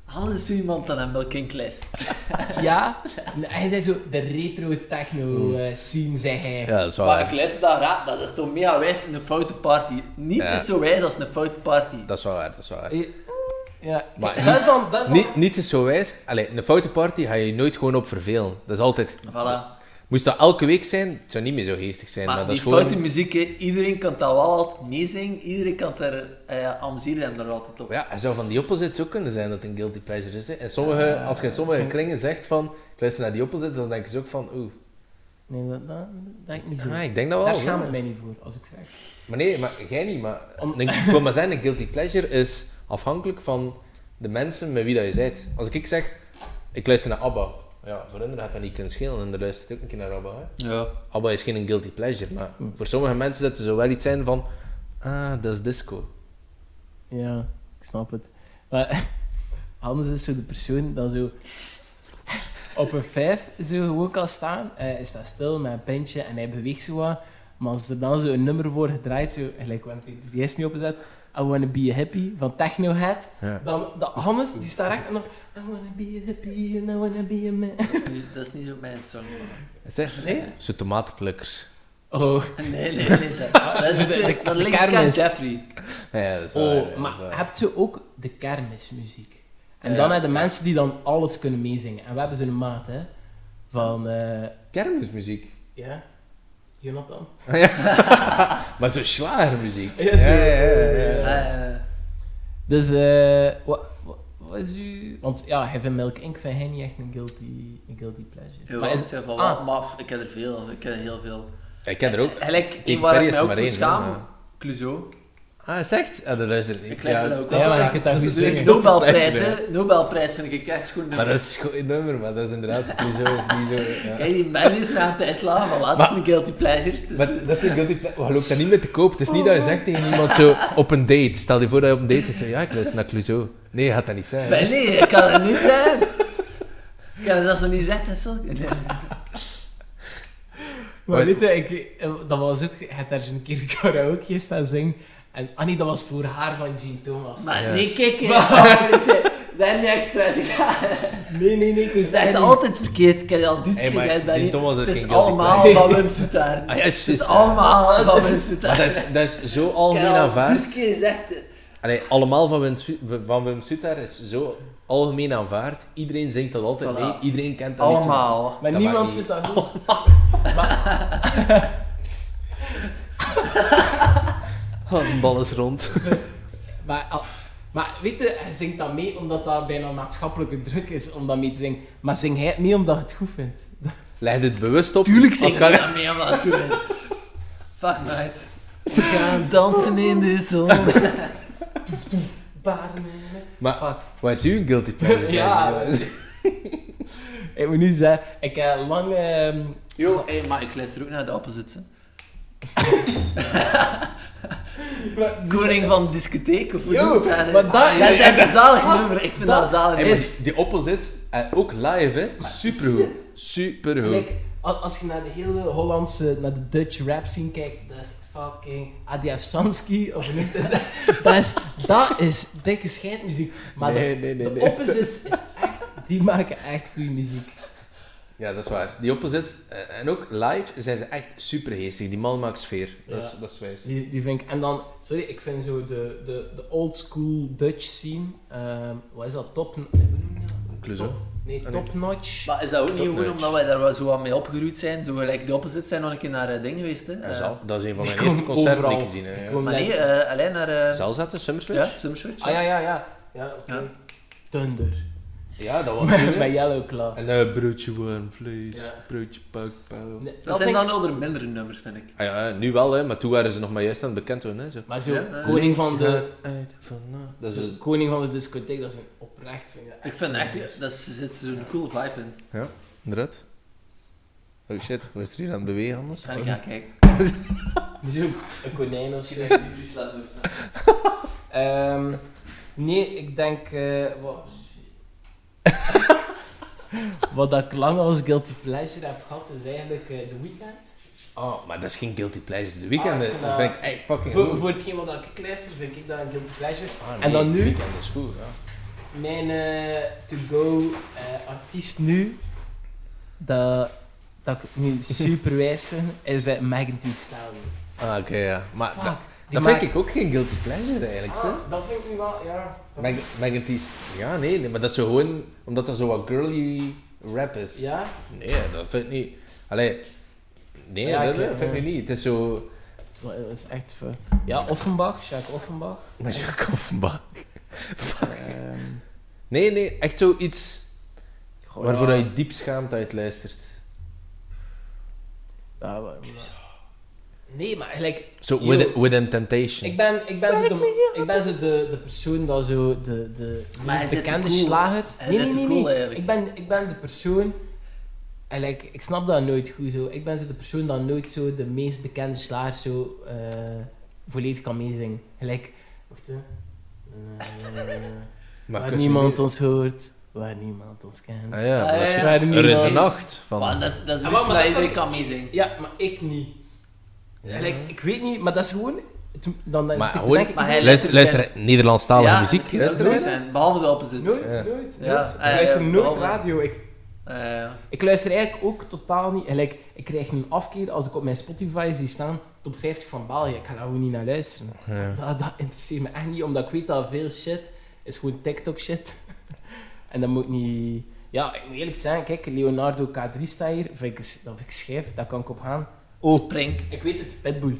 Speaker 4: alles is zo iemand aan een Milking lijst.
Speaker 1: Ja, hij zei zo de
Speaker 3: Hmm.
Speaker 1: retro-techno-scene, zei hij.
Speaker 3: Ja, dat is wel
Speaker 4: Maar ik
Speaker 3: waar.
Speaker 4: luister dat raad, dat is toch mega wijs in een foute party. Niets
Speaker 3: Ja.
Speaker 4: is zo wijs als een foute party.
Speaker 3: Dat is wel waar, dat is wel waar.
Speaker 1: Eh, Ja,
Speaker 3: Maar
Speaker 1: dat is dan... Dat is dan
Speaker 3: Niet, niets is zo wijs. Allee, een foute party ga je je nooit gewoon op vervelen. Dat is altijd...
Speaker 4: Voilà.
Speaker 3: Moest dat elke week zijn, het zou niet meer zo geestig zijn. Maar,
Speaker 4: Maar
Speaker 3: dat
Speaker 4: die
Speaker 3: is gewoon...
Speaker 4: foute muziek, hè, iedereen kan dat wel altijd meezingen. Iedereen kan er eh amuseren hem er altijd op.
Speaker 3: Ja, er zou van die opposites ook kunnen zijn dat het een guilty pleasure is. Hè? En sommige,
Speaker 1: Eh,
Speaker 3: als je in sommige kringen zegt van... Ik luister naar die opposites, dan denken ze ook van... Oeh,
Speaker 1: Nee, dat, dat, dat denk ik niet zo.
Speaker 3: ah, ik denk dat wel.
Speaker 1: Daar
Speaker 3: hoor.
Speaker 1: schaam ik mij niet voor, als ik zeg.
Speaker 3: Maar nee, maar jij niet. Maar
Speaker 1: Om-
Speaker 3: ik wil maar zeggen, een guilty pleasure is afhankelijk van de mensen met wie dat je bent. Als ik zeg, ik luister naar ABBA. Ja, voor hun gaat dat niet kunnen schelen. En er luistert ook een keer naar ABBA. Hè.
Speaker 4: Ja.
Speaker 3: ABBA is geen guilty pleasure. Maar voor sommige mensen dat er zo wel iets zijn van... Ah, dat is disco.
Speaker 1: Ja, ik snap het. Maar Hannes is zo de persoon dat zo op een vijf zo gewoon kan staan. eh, Hij staat stil met een pintje en hij beweegt zo wat. Maar als er dan zo een nummer wordt gedraaid, zo, gelijk we hebben die eerst niet opgezet, I Wanna Be A Hippie van Technohead,
Speaker 3: Ja.
Speaker 1: dan de Hannes die staat recht en dan I Wanna Be A Hippie and I Wanna Be A Man.
Speaker 4: Dat is niet, dat is niet zo mijn song. man.
Speaker 3: Is dat?
Speaker 1: Nee?
Speaker 3: Zo tomatenplukkers.
Speaker 1: Oh,
Speaker 4: Nee, nee, nee. Dat, dat, is
Speaker 1: De-
Speaker 4: iets-
Speaker 1: de-
Speaker 4: dat
Speaker 1: de
Speaker 4: ligt aan
Speaker 1: kermis.
Speaker 4: Jeffrey.
Speaker 3: Ja, dat is waar, ja,
Speaker 1: oh
Speaker 3: dat is waar.
Speaker 1: maar hebt ze ook de kermismuziek? En
Speaker 4: Ja,
Speaker 1: dan
Speaker 4: ja.
Speaker 1: hebben de mensen die dan alles kunnen meezingen. En we hebben zo'n maat, hè, van... eh,
Speaker 3: Kermismuziek.
Speaker 1: Ja, Jonathan.
Speaker 3: Maar zo slagermuziek.
Speaker 1: Ja, zo.
Speaker 4: Eh,
Speaker 1: Dus, eh wat, wat, is u. Want ja, Heaven Milk Inc. vind jij niet echt een guilty, een guilty pleasure.
Speaker 4: jawel,
Speaker 1: maar is
Speaker 4: ik zeg van,
Speaker 1: ah.
Speaker 4: maar ik heb er veel. Ik heb er heel veel.
Speaker 3: Ja, ik ken er ook.
Speaker 4: Eigenlijk,
Speaker 3: Kijk,
Speaker 4: één waar
Speaker 3: Perry
Speaker 4: ik
Speaker 3: is
Speaker 4: me ook
Speaker 3: maar
Speaker 4: voor
Speaker 3: één, hè,
Speaker 4: schaam,
Speaker 3: maar-
Speaker 4: Clouseau.
Speaker 3: Ah, is het echt? Ah, dat luister ik niet.
Speaker 4: Ik luister
Speaker 3: Ja,
Speaker 4: dat ook
Speaker 1: Ja,
Speaker 4: wel
Speaker 1: maar je
Speaker 4: graag.
Speaker 1: kunt dat
Speaker 4: Dat
Speaker 1: goed
Speaker 4: is de
Speaker 1: zingen.
Speaker 4: Nobelprijs, hè. Nobelprijs vind ik echt goed
Speaker 3: Maar
Speaker 4: nummer.
Speaker 3: dat is een goed nummer, maar dat is inderdaad niet zo. Is niet zo ja.
Speaker 4: Kijk, die man is mij aan het uitlachen, maar laat, dat is een guilty pleasure. Dus
Speaker 3: Maar dat is niet guilty pleasure. We geloven daar niet mee te koop. Het is niet dat je zegt tegen iemand zo op een date. Stel je voor dat je op een date zegt, ja, ik luister naar Clouseau. Nee, je gaat dat niet zijn.
Speaker 4: Ben nee, ik kan het niet zijn. Ik kan het zelfs nog niet zeggen, zo. Nee.
Speaker 1: Maar
Speaker 3: Wat-
Speaker 1: weet je, ik, eh, dat was ook. Je hebt daar zo'n keer karaoke staan zingen. En ah nee, dat was voor haar van Jean Thomas.
Speaker 4: Maar
Speaker 3: Ja.
Speaker 4: nee, kijk, hè. Oh, Ik zei, dat heb je expres gedaan.
Speaker 1: Nee, nee, nee, ik
Speaker 4: Je
Speaker 1: wil
Speaker 4: zegt
Speaker 1: zeggen.
Speaker 4: altijd verkeerd. Ik heb je al die
Speaker 3: Hey,
Speaker 4: keer
Speaker 3: maar
Speaker 4: gezegd,
Speaker 3: Sint
Speaker 4: Benny.
Speaker 3: Thomas is
Speaker 4: Het is
Speaker 3: geen guilty
Speaker 4: allemaal
Speaker 3: pleasure.
Speaker 4: van Wim Soetaar.
Speaker 3: Ah,
Speaker 4: Het
Speaker 3: ja, juist.
Speaker 4: is allemaal van Wim
Speaker 3: Maar
Speaker 4: Soetaar.
Speaker 3: dat is, dat is zo algemeen
Speaker 4: Ik heb al
Speaker 3: aanvaard.
Speaker 4: die keer gezegd, hè.
Speaker 3: Allee, allemaal van Wim, Su- van Wim Sutter is zo algemeen aanvaard. Iedereen zingt dat altijd
Speaker 4: Voilà.
Speaker 3: mee. Iedereen kent dat liedje.
Speaker 4: allemaal.
Speaker 1: Maar
Speaker 3: Dat
Speaker 1: niemand
Speaker 3: maakt
Speaker 1: vindt
Speaker 3: niet-
Speaker 1: dat goed.
Speaker 3: Oh, de bal is rond.
Speaker 1: Maar, al- maar weet je, hij zingt dat mee omdat dat bijna maatschappelijke druk is om dat mee te zingen. Maar zing hij het mee omdat je het goed vindt?
Speaker 3: Leg dit bewust op. Als
Speaker 4: Tuurlijk zing ik
Speaker 3: je-
Speaker 4: dat mee, man. tuurlijk. Fuck, mate. We gaan dansen in de zon.
Speaker 1: Baarden.
Speaker 3: Maar-
Speaker 1: Fuck.
Speaker 3: Wat is uw guilty pleasure?
Speaker 1: Ja. Ik moet nu zeggen, ik heb lang... ehm,
Speaker 4: Yo, hey, maar ik luister ook naar de opposite. hè. Koning van de discotheek of hoe
Speaker 1: Yo,
Speaker 4: noemt dat? hè?
Speaker 1: maar dat
Speaker 3: ah,
Speaker 1: is-
Speaker 4: dat is echt een zalig
Speaker 1: gast,
Speaker 4: nummer. Ik vind
Speaker 1: dat
Speaker 4: dat, een zalig
Speaker 3: Hey,
Speaker 4: nummer.
Speaker 3: maar die opposite, eh, ook live, hè? Supergoed. Supergoed.
Speaker 1: Kijk, a- als je naar de hele Hollandse, naar de Dutch rap scene kijkt, dat is fucking ADF Samsky of niet. dat, is, dat is dikke scheidmuziek. Maar
Speaker 3: Nee,
Speaker 1: de,
Speaker 3: nee, nee,
Speaker 1: de
Speaker 3: nee.
Speaker 1: opposites is echt, die maken echt goede muziek.
Speaker 3: Ja, dat is waar. Die opposite, eh, en ook live, zijn ze echt supergeestig. Die man maakt sfeer. Dat,
Speaker 1: Ja.
Speaker 3: is, dat is wijs.
Speaker 1: Die, die vind ik, en dan, sorry, ik vind zo de, de, de old school Dutch scene, ehm, wat is dat, top... hoe noem je dat?
Speaker 3: Clouseau.
Speaker 1: Top- Nee,
Speaker 3: Ah, nee.
Speaker 1: top notch.
Speaker 4: Maar is dat ook niet gewoon
Speaker 3: Topnotch.
Speaker 4: omdat wij daar wel zo wat mee opgeroeid zijn? Zo gelijk de opposite zijn nog een keer naar eh, ding geweest. Hè?
Speaker 3: Dat
Speaker 4: Eh,
Speaker 3: is, al- dat is een van
Speaker 1: die
Speaker 3: mijn eerste
Speaker 1: komen
Speaker 3: concerten die ik
Speaker 1: overal.
Speaker 3: gezien heb.
Speaker 1: Die
Speaker 3: Ja.
Speaker 1: komen
Speaker 4: Maar nee,
Speaker 1: met-
Speaker 4: eh, alleen naar... eh
Speaker 3: Zal zaten,
Speaker 4: ja,
Speaker 3: Summerswitch?
Speaker 4: Summerswitch.
Speaker 1: Ah ja, ja, ja. Ja, oké.
Speaker 4: Ja.
Speaker 1: Thunder.
Speaker 3: Ja, dat was toen, hè.
Speaker 1: Bij Yellow Claw.
Speaker 3: En eh, broodje warm vlees,
Speaker 1: Ja.
Speaker 3: broodje pak, pauw.
Speaker 1: Nee,
Speaker 4: Dat
Speaker 1: vind
Speaker 4: zijn
Speaker 1: ik-
Speaker 4: dan onder mindere nummers, vind ik.
Speaker 3: Ah ja, nu wel, hè, maar toen waren ze nog maar juist aan het bekend worden. Hè, zo.
Speaker 1: Maar zo,
Speaker 4: Ja, eh, ja.
Speaker 1: koning, van de,
Speaker 3: uit van Dat is
Speaker 1: zo, koning van de discotheek, dat is een oprecht, vind ik dat
Speaker 4: Ik vind echt, dat is- er zit zo'n coole vibe in.
Speaker 3: inderdaad. Oh shit, we zijn hier aan het bewegen anders.
Speaker 4: Ga ik gaan kijken.
Speaker 1: Zo, een konijn of zo.
Speaker 4: Misschien dat dus, ik die vries laat doorstaan.
Speaker 1: Ehm, nee, ik denk... eh, wat, wat dat ik lang als guilty pleasure heb gehad, is eigenlijk eh The Weeknd.
Speaker 3: Oh, maar dat is geen guilty pleasure. De weekend,
Speaker 1: Ah, ik
Speaker 3: dat
Speaker 1: vind
Speaker 3: dat
Speaker 1: dat-
Speaker 3: vind ik echt fucking
Speaker 1: Voor,
Speaker 3: goed.
Speaker 1: voor hetgeen wat ik luister, vind ik dat een guilty pleasure.
Speaker 3: Ah, nee,
Speaker 1: en dan nu?
Speaker 3: De weekend is goed, ja.
Speaker 1: Mijn eh, to-go eh, artiest nu, dat, dat ik nu super wijs vind, is uh, Megan Thee Stallion.
Speaker 3: Ah, oké, ja. Maar
Speaker 1: Fuck,
Speaker 3: dat,
Speaker 1: die
Speaker 3: dat
Speaker 1: maakt-
Speaker 3: vind ik ook geen guilty pleasure eigenlijk, zo.
Speaker 1: Ah, dat vind ik nu wel, ja. dat
Speaker 3: Mag, mag het iets... Ja, nee, nee, maar dat is zo gewoon... Omdat dat zo wat girly rap is.
Speaker 1: Ja?
Speaker 3: Nee, dat vind ik niet... Allee... Nee,
Speaker 1: Ja,
Speaker 3: dat,
Speaker 1: ik-
Speaker 3: dat vind ik
Speaker 1: ja.
Speaker 3: niet. Het is zo...
Speaker 1: Dat is echt ver. Ja, Offenbach, Sjaak Offenbach.
Speaker 3: Maar Jacques Offenbach.
Speaker 1: Ehm,
Speaker 3: Nee, nee, echt zoiets
Speaker 1: goh,
Speaker 3: waarvoor
Speaker 1: ja,
Speaker 3: dat je diep schaamt uit luistert.
Speaker 1: ja, wa- wa- Nee, maar gelijk,
Speaker 3: Zo,
Speaker 1: Yo.
Speaker 3: with, Within Temptation.
Speaker 1: ik ben, ik ben, zo, de, ik ben zo de, de persoon dat zo de, de
Speaker 4: Maar hij
Speaker 1: meest
Speaker 4: zit te
Speaker 1: bekende
Speaker 4: cool.
Speaker 1: slagers...
Speaker 4: Hij
Speaker 1: Nee,
Speaker 4: zit
Speaker 1: nee,
Speaker 4: te
Speaker 1: nee,
Speaker 4: cool
Speaker 1: nee.
Speaker 4: eigenlijk.
Speaker 1: Ik, ben, ik ben de persoon... en like, ik snap dat nooit goed zo. Ik ben zo de persoon dat nooit zo de meest bekende slagers zo eh, volledig kan meezingen. Gelijk... Wacht, hè. waar
Speaker 3: ik wist
Speaker 1: niemand
Speaker 3: niet
Speaker 1: ons hoort, waar niemand ons kent.
Speaker 3: meer. Ah ja,
Speaker 4: Ah,
Speaker 3: dat is-
Speaker 4: ja, ja.
Speaker 1: Waar
Speaker 3: Er is
Speaker 1: niemand-
Speaker 3: een nacht
Speaker 4: Maar
Speaker 3: van...
Speaker 4: dat is, dat is
Speaker 1: Ja,
Speaker 4: een
Speaker 1: maar- maar
Speaker 4: liedje dat
Speaker 1: dat
Speaker 4: iedereen
Speaker 1: kan-
Speaker 4: kan meezingen.
Speaker 1: Ja, maar ik niet.
Speaker 3: Ja.
Speaker 1: Like, ik weet niet, maar dat is gewoon... toen- Dan is
Speaker 3: Maar
Speaker 1: het-
Speaker 3: hoor-
Speaker 1: denk ik
Speaker 4: maar hij-
Speaker 1: nooit,
Speaker 3: Luister, luister Nederlandstalige
Speaker 4: Ja,
Speaker 3: muziek.
Speaker 4: dat kan ook
Speaker 1: Luister
Speaker 4: goed
Speaker 1: eens.
Speaker 4: zijn, Behalve de opposite.
Speaker 1: nooit,
Speaker 3: Ja.
Speaker 1: nooit,
Speaker 4: Ja,
Speaker 1: nooit.
Speaker 4: eh,
Speaker 1: Ik luister nooit
Speaker 4: behalve-
Speaker 1: radio. Ik,
Speaker 4: Eh, ja.
Speaker 1: ik luister eigenlijk ook totaal niet. En like, ik krijg een afkeer als ik op mijn Spotify zie staan top 50 van België. Ik ga daar gewoon niet naar luisteren.
Speaker 3: Ja.
Speaker 1: Dat, dat interesseert me echt niet, omdat ik weet dat veel shit is gewoon TikTok shit. en dat moet niet... Ja, ik moet eerlijk zijn, kijk, Leonardo K3 staat hier. Vind ik, dat vind ik schijf, daar kan ik op gaan. Oh,
Speaker 4: Spring.
Speaker 1: ik weet het, Pitbull.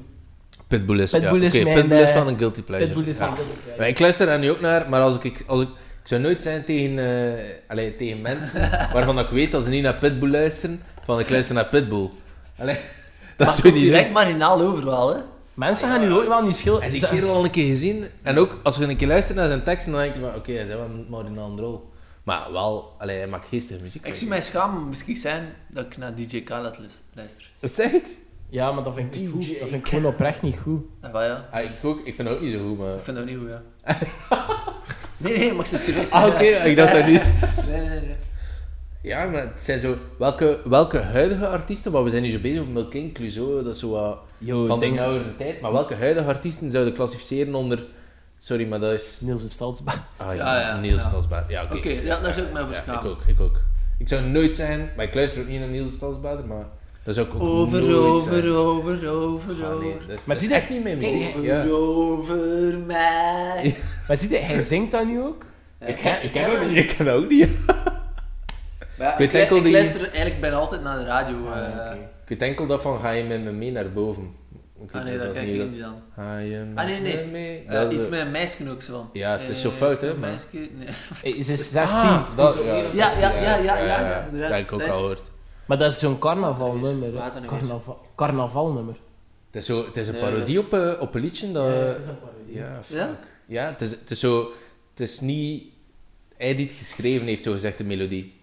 Speaker 3: Pitbull is,
Speaker 1: Pitbull
Speaker 3: ja,
Speaker 1: is
Speaker 3: oké,
Speaker 1: mijn,
Speaker 3: Pitbull is
Speaker 1: eh,
Speaker 3: wel een guilty pleasure.
Speaker 1: Pitbull is
Speaker 3: Ja.
Speaker 1: mijn guilty pleasure.
Speaker 3: Ja, ik luister daar nu ook naar, maar als ik, ik- als ik, ik zou nooit zijn tegen, eh, allee, tegen mensen waarvan dat ik weet dat ze niet naar Pitbull luisteren, van ik luister naar Pitbull. Allee, dat
Speaker 4: Maar
Speaker 3: is zo
Speaker 4: komt
Speaker 3: niet
Speaker 4: direct marginaal over wel, hè.
Speaker 1: Mensen gaan nu ook wel niet schil.
Speaker 3: En die
Speaker 1: Ze-
Speaker 3: kerel al een keer gezien, en ook als je een keer luistert naar zijn teksten, dan denk je van oké, hij is wel een marginaal rol. Maar wel, allee, hij maakt geestige muziek.
Speaker 4: Ik zie mij schamen misschien zijn dat ik naar DJ Khaled lus- luister.
Speaker 3: Is dat het?
Speaker 1: Ja, maar dat vind ik niet
Speaker 3: DJ
Speaker 1: goed. Dat vind ik gewoon oprecht niet goed.
Speaker 4: Ah, wel, ja.
Speaker 3: Ah, ik, ook, ik vind dat ook niet zo goed, maar...
Speaker 4: Ik vind dat niet goed, ja. nee, nee, maar ik zit serieus.
Speaker 3: Ah oké, ik dacht dat niet.
Speaker 4: Nee, nee, nee.
Speaker 3: Ja, maar het zijn zo... Welke, welke huidige artiesten, want we zijn nu zo bezig met Milking, Clouseau, dat is zo wat...
Speaker 1: Yo,
Speaker 3: van
Speaker 1: dingen.
Speaker 3: de oudere tijd, maar welke huidige artiesten zouden klassificeren onder... Sorry, maar dat is...
Speaker 1: Niels de Stadsbaan.
Speaker 3: Ah,
Speaker 4: Ja, ja,
Speaker 3: Niels
Speaker 4: ja.
Speaker 3: Stadsbader. Ja, oké.
Speaker 4: Oké, ja, daar zou ik mij over
Speaker 3: Ja, ik
Speaker 4: schamen.
Speaker 3: ook, ik ook. Ik zou nooit zijn, maar ik luister ook niet naar Niels Stadsbader, maar dat zou ik ook nooit
Speaker 4: Over,
Speaker 3: zijn.
Speaker 4: over, over, over,
Speaker 3: Ah, nee,
Speaker 4: over.
Speaker 3: dat is-
Speaker 1: Maar
Speaker 3: dat
Speaker 1: zie
Speaker 3: is
Speaker 1: dat-
Speaker 3: echt niet mijn
Speaker 1: kijk,
Speaker 3: muziek.
Speaker 4: Over,
Speaker 3: Ja.
Speaker 4: over mij.
Speaker 1: Maar zie je, hij zingt dat nu ook.
Speaker 4: Ik
Speaker 1: ken- ik ken
Speaker 3: ook niet. Ik ken dat ook niet.
Speaker 4: Maar ja,
Speaker 3: Ik
Speaker 4: ik,
Speaker 3: weet
Speaker 4: lu-
Speaker 3: enkel
Speaker 4: ik
Speaker 3: die- Ah,
Speaker 4: luister eigenlijk bijna altijd naar de radio. eh.
Speaker 3: Ik weet enkel dat van, ga je met me mee naar boven? Ik weet
Speaker 4: Ah nee, dat
Speaker 3: zelfs
Speaker 4: kijk
Speaker 3: niet
Speaker 4: ik
Speaker 3: dat-
Speaker 4: niet dan.
Speaker 3: Ga je met
Speaker 4: Ah, nee, nee.
Speaker 3: me mee?
Speaker 4: Eh,
Speaker 3: Dat is-
Speaker 4: iets met een meisje ook zo van.
Speaker 3: Ja, het is
Speaker 4: Eh,
Speaker 3: zo fout, hè,
Speaker 4: een
Speaker 3: maar-
Speaker 4: meisje- nee.
Speaker 1: Hij is dus 16.
Speaker 3: Ah, dat, ja,
Speaker 4: Ja, ja, ja, ja, ja, ja,
Speaker 3: Dat
Speaker 4: inderdaad.
Speaker 3: heb ik ook al
Speaker 4: Dat is-
Speaker 3: gehoord.
Speaker 1: Maar dat is zo'n carnavalnummer. hè.
Speaker 4: Waar dan weer?
Speaker 1: Carnaval, carnavalnummer.
Speaker 3: Het is, zo, het is een
Speaker 4: Nee,
Speaker 3: parodie op, eh, op een liedje. Dat,
Speaker 1: een parodie.
Speaker 3: ja, fuck.
Speaker 4: Ja?
Speaker 3: ja? het, is, het is zo... Het is niet... Hij die het geschreven heeft, zogezegd, de melodie.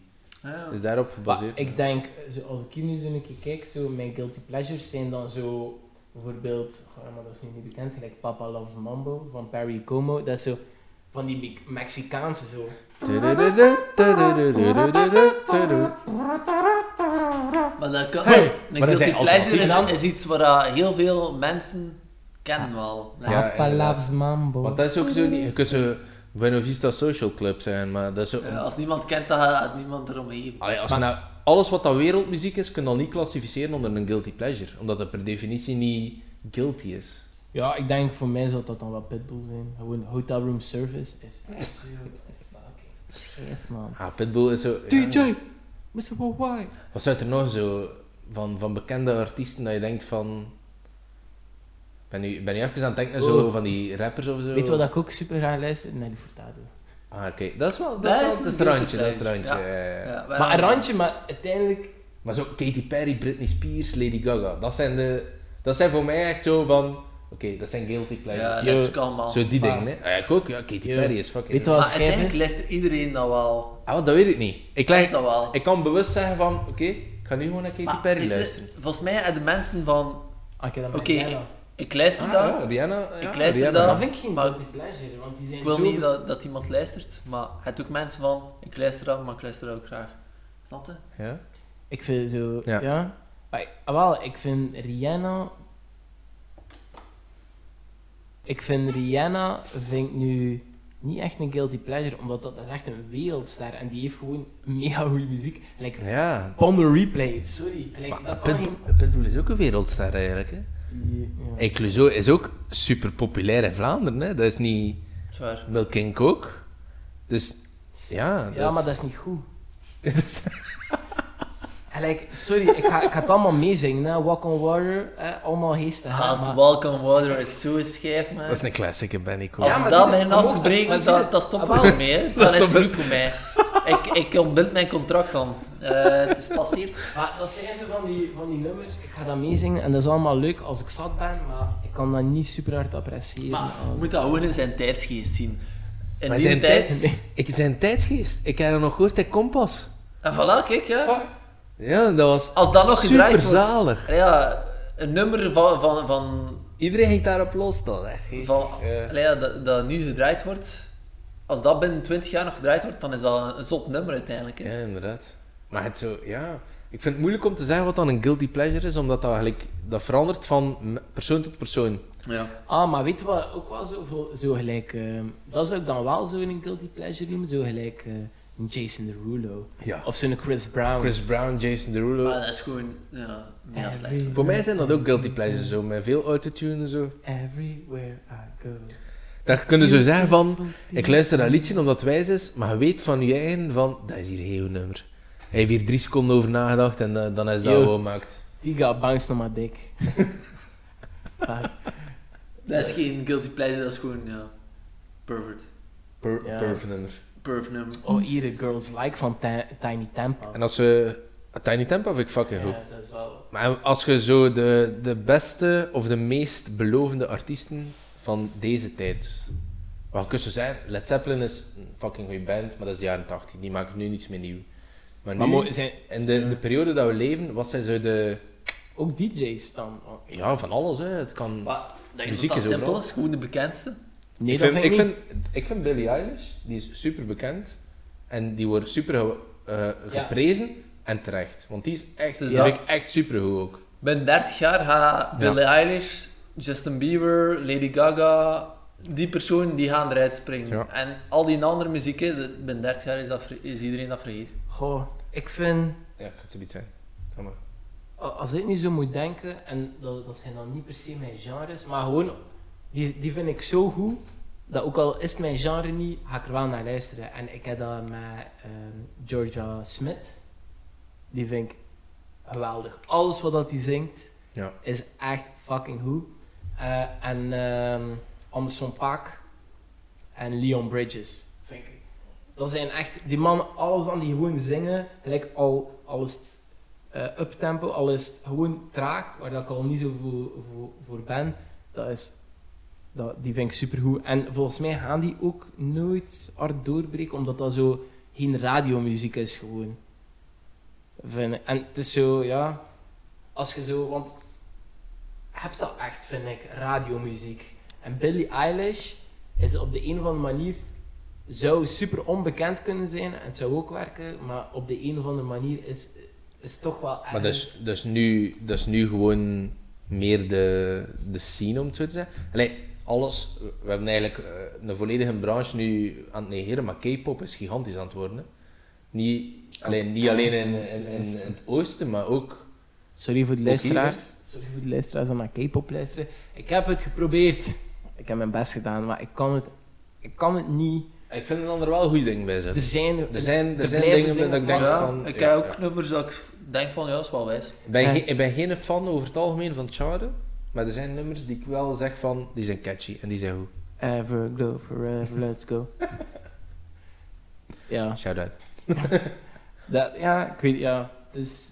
Speaker 4: Ja.
Speaker 3: Het is daarop gebaseerd.
Speaker 1: Ah, ik denk, zo, als ik hier nu zo een keer kijk, zo, mijn guilty pleasures zijn dan zo... Bijvoorbeeld, oh, maar dat is nu niet bekend, gelijk Papa Loves Mambo van Perry Como. Dat is zo van die Me- Mexicaanse zo.
Speaker 4: Ah, Maar dat kan...
Speaker 3: Hey,
Speaker 4: een
Speaker 3: maar dat zijn
Speaker 4: guilty pleasure
Speaker 3: alternatieven
Speaker 4: is, is iets waar eh, heel veel mensen kennen wel. Ja.
Speaker 3: Ja,
Speaker 1: Papa
Speaker 3: inderdaad.
Speaker 1: Loves Mambo.
Speaker 3: Want dat is ook zo niet... Je kunt zo Buena Vista Social Club zijn, maar dat is zo...
Speaker 4: Eh, als niemand kent, dan gaat niemand eromheen.
Speaker 3: Allee, als je nou alles wat dat wereldmuziek is, kun je dat niet klassificeren onder een guilty pleasure. Omdat dat per definitie niet guilty is.
Speaker 1: Ja, ik denk voor mij zou dat dan wel Pitbull zijn. Gewoon hotel room service is echt zo fucking scheef, man.
Speaker 3: Ah, Pitbull is zo... ja.
Speaker 1: DJ, Mr. Worldwide.
Speaker 3: Wat zijn er nog zo van, van bekende artiesten dat je denkt van... Ik ben nu, ik ben nu even aan het denken zo,
Speaker 1: Oh.
Speaker 3: van die rappers of zo.
Speaker 1: Weet je wat ik ook super graag luister? Nelly Furtado.
Speaker 3: Ah, oké. Dat is wel... Dat,
Speaker 4: Dat
Speaker 3: is wel-
Speaker 4: is
Speaker 3: dat is
Speaker 4: een
Speaker 3: het randje, dat is
Speaker 4: guilty
Speaker 3: het randje.
Speaker 4: pleasure,
Speaker 3: ja, ja, ja.
Speaker 4: Ja,
Speaker 1: Maar een randje, maar uiteindelijk...
Speaker 3: Maar zo Katy Perry, Britney Spears, Lady Gaga. Dat zijn, de, dat zijn voor mij echt zo van... Oké, dat zijn guilty
Speaker 4: Ja,
Speaker 3: pleasures.
Speaker 4: luister ik allemaal.
Speaker 3: zo die
Speaker 1: Van-
Speaker 3: dingen, hè. Ah, ja, ik ook. Ja, Katy
Speaker 1: Ja.
Speaker 3: Perry is fucking...
Speaker 1: Weet je wat
Speaker 4: Maar
Speaker 1: schijf
Speaker 4: Ah, uiteindelijk
Speaker 1: is?
Speaker 4: luistert iedereen dat wel.
Speaker 3: Ah, dat weet ik niet. Ik,
Speaker 4: Dat is
Speaker 3: leg,
Speaker 4: dat wel.
Speaker 3: ik kan bewust zeggen van... Oké, ik ga nu gewoon naar Katy
Speaker 4: Maar
Speaker 3: Perry
Speaker 4: weet je,
Speaker 3: luisteren.
Speaker 4: Volgens mij hebben de mensen van...
Speaker 1: Ah, ik heb dat
Speaker 4: Oké,
Speaker 1: met
Speaker 4: ik,
Speaker 1: Rihanna.
Speaker 4: ik luister
Speaker 3: Ah,
Speaker 4: dat,
Speaker 3: ja, Rihanna. ja,
Speaker 4: Ik luister
Speaker 3: Rihanna.
Speaker 4: dat.
Speaker 1: Dat vind ik geen
Speaker 4: Maar-
Speaker 1: guilty pleasure, want die zijn
Speaker 4: Ik wil
Speaker 1: zo...
Speaker 4: niet dat, dat iemand luistert, maar het hebt ook mensen van, ik luister aan, maar ik luister ook graag. Snap je?
Speaker 3: Ja.
Speaker 1: Ik vind zo...
Speaker 3: Ja.
Speaker 1: Ja. Maar, ik- ah, wel, ik vind Rihanna... Ik vind Rihanna vind ik nu niet echt een guilty pleasure, omdat dat, dat is echt een wereldster en die heeft gewoon mega goede muziek. Like,
Speaker 3: Ja.
Speaker 1: Ponder Replay, sorry. Like, dat kan
Speaker 3: Pitbull,
Speaker 1: geen-
Speaker 3: Pitbull is ook een wereldster eigenlijk. Hè?
Speaker 1: Ja.
Speaker 3: En Clouseau is ook super populair in Vlaanderen. Hè? Dat is niet
Speaker 4: Zwaar.
Speaker 3: Milking ook. Dus ja.
Speaker 1: Ja,
Speaker 4: dus-
Speaker 1: maar dat is niet goed. En like, sorry, ik ga, ik ga het allemaal meezingen. Hè. Walk on Water, hè, allemaal geesten. hè,
Speaker 4: Haast
Speaker 1: maar-
Speaker 4: Welcome Water is zo schijf, man.
Speaker 3: dat is een classic, ben ik ook.
Speaker 4: Als
Speaker 1: Ja, maar
Speaker 4: dat
Speaker 1: zie-
Speaker 4: begint
Speaker 1: maar
Speaker 4: af
Speaker 1: mocht
Speaker 4: te
Speaker 1: dat-
Speaker 4: breken,
Speaker 1: maar
Speaker 4: dat,
Speaker 1: zie
Speaker 4: dat,
Speaker 1: dat-
Speaker 4: stopt
Speaker 1: Ah,
Speaker 4: het
Speaker 1: wel.
Speaker 4: voor mij. hè. Dan is het
Speaker 3: stopt
Speaker 4: goed voor mij. Ik, ik ontbind mijn contract dan. Eh, het is passeerd.
Speaker 1: Maar dat zijn zo van die, van die nummers. Ik ga dat meezingen en dat is allemaal leuk als ik zat ben, maar ik kan dat niet super hard appreciëren.
Speaker 4: Maar je moet dat gewoon in zijn tijdsgeest zien. In
Speaker 3: Maar
Speaker 4: die
Speaker 3: zijn
Speaker 4: tijd...
Speaker 3: tijd- Ik zijn tijdsgeest. Ik heb hem nog gehoord in Kompas.
Speaker 4: En voilà, kijk, ja.
Speaker 3: Ja, dat was
Speaker 4: Als dat nog gedraaid wordt.
Speaker 3: superzalig.
Speaker 4: Ja, een nummer van, van, van
Speaker 3: Iedereen ging daarop los, dat is echt geestig.
Speaker 4: Van,
Speaker 3: Ja.
Speaker 4: allee, ja, dat, dat nu gedraaid wordt, als dat binnen 20 jaar nog gedraaid wordt, dan is dat een zot nummer uiteindelijk. hè.
Speaker 3: Ja, inderdaad. Maar het zo, ja. Ik vind het moeilijk om te zeggen wat dan een guilty pleasure is, omdat dat eigenlijk dat verandert van m- persoon tot persoon.
Speaker 4: Ja.
Speaker 1: Ah, maar weet je wat ook wel zo, voor- zo gelijk... eh, dat zou ik dan wel zo een guilty pleasure noemen. Zo gelijk eh, een Jason Derulo.
Speaker 3: Ja.
Speaker 1: Of zo'n Chris Brown.
Speaker 3: Chris Brown, Jason Derulo.
Speaker 4: Maar dat is gewoon, ja, niet als slecht.
Speaker 1: Every-
Speaker 3: Voor mij zijn dat ook guilty pleasures, zo, met veel autotune en zo.
Speaker 1: Everywhere I go.
Speaker 3: Dat kunnen ze zeggen van,
Speaker 1: Beautiful
Speaker 3: ik luister naar een liedje omdat het wijs is, maar je weet van je eigen van, dat is hier heel nummer. Hij heeft hier drie seconden over nagedacht en eh, dan is dat
Speaker 1: Yo.
Speaker 3: gewoon gemaakt.
Speaker 1: Die gaat bounce naar mijn dik. Vaak.
Speaker 4: Dat is geen guilty pleasure, dat is gewoon, ja, pervert.
Speaker 3: Per,
Speaker 1: Ja.
Speaker 3: perf nummer.
Speaker 4: Perv nummer.
Speaker 1: Oh, hier de girls like van Ti- Tiny Tempo.
Speaker 3: En als we... Tiny Tempo vind ik fucking goed.
Speaker 1: Ja, dat is wel...
Speaker 3: Maar als je zo de, de beste of de meest belovende artiesten van deze tijd. Wat kun je zo zeggen? Led Zeppelin is een fucking goede band, maar dat is de jaren 80. Die maken nu niets meer nieuw. Maar,
Speaker 1: Maar
Speaker 3: nu,
Speaker 1: mooi, zijn,
Speaker 3: in de, de periode dat we leven, wat zijn zo de.
Speaker 1: ook DJ's dan? Oh, ik-
Speaker 3: Ja, van alles, hè? Het kan.
Speaker 4: Maar, denk je
Speaker 3: Muziek
Speaker 4: dat dat
Speaker 3: is
Speaker 4: simpel
Speaker 3: overal.
Speaker 4: is? Gewoon de bekendste?
Speaker 1: Nee,
Speaker 3: ik,
Speaker 1: dat
Speaker 3: vind,
Speaker 1: vind
Speaker 3: ik,
Speaker 1: ik niet.
Speaker 3: vind, ik vind Billie Eilish, die is super bekend. En die wordt super ge- eh,
Speaker 1: Ja.
Speaker 3: geprezen en terecht. Want die is echt,
Speaker 4: Dus
Speaker 3: die
Speaker 4: dat-
Speaker 3: vind ik echt super goed ook.
Speaker 4: Binnen 30 jaar gaat Billie Eilish, Justin Bieber, Lady Gaga, die personen die gaan eruit springen.
Speaker 3: Ja.
Speaker 4: En al die andere muziek, hè, dat- binnen 30 jaar is, dat, ver- is iedereen dat vergeten.
Speaker 1: Goh, ik vind...
Speaker 3: Ja, ik kan het zoiets zijn. Kom maar.
Speaker 1: a- Als ik nu zo moet denken, en dat, dat zijn dan niet per se mijn genres, maar gewoon... Die, die vind ik zo goed, dat ook al is het mijn genre niet, ga ik er wel naar luisteren. En ik heb dat met ehm, Georgia Smith. Die vind ik geweldig. Alles wat dat die zingt,
Speaker 3: Ja.
Speaker 1: is echt fucking goed. Eh, en ehm, Anderson Paak en Leon Bridges, vind ik. Dat zijn echt die mannen, alles aan die gewoon zingen, gelijk al, al is het eh, uptempo, al is het gewoon traag, waar dat ik al niet zo voor, voor, voor ben, dat is, dat, die vind ik supergoed. En volgens mij gaan die ook nooit hard doorbreken, omdat dat zo geen radiomuziek is gewoon. Vind ik. En het is zo, ja, als je zo, want heb dat echt, vind ik, radiomuziek. En Billie Eilish is op de een of andere manier zou super onbekend kunnen zijn en het zou ook werken, maar op de een of andere manier is is toch wel ergens...
Speaker 3: Maar dat is, dat, is nu, dat is nu gewoon meer de, de scene, om het zo te zeggen. Allee, alles, we hebben eigenlijk eh, een volledige branche nu aan het negeren, maar K-pop is gigantisch aan het worden. hè. Niet, allee, niet alleen in, in, in, in het oosten, maar ook...
Speaker 1: Sorry voor de
Speaker 3: Ook
Speaker 1: luisteraars.
Speaker 3: hier,
Speaker 1: Sorry voor de luisteraars dat naar K-pop luisteren. Ik heb het geprobeerd. Ik heb mijn best gedaan, maar ik kan het, ik kan het niet.
Speaker 3: Ik vind dat er wel goede dingen bij
Speaker 1: Er
Speaker 3: zitten.
Speaker 1: zijn,
Speaker 3: Er zijn, er
Speaker 1: Dus er
Speaker 3: zijn
Speaker 1: blijven
Speaker 3: dingen bij dat ik denk
Speaker 1: Ja,
Speaker 3: van...
Speaker 4: ik
Speaker 3: ja,
Speaker 4: heb ook
Speaker 3: ja.
Speaker 4: nummers dat ik denk van, ja, is wel wijs.
Speaker 3: Ik ben,
Speaker 1: Ja.
Speaker 3: geen- ik ben geen fan over het algemeen van Charde, maar er zijn nummers die ik wel zeg van, die zijn catchy en die zijn goed.
Speaker 1: Ever go forever, let's go. ja,
Speaker 3: Shout-out.
Speaker 1: dat, ja, ik weet ja. Dus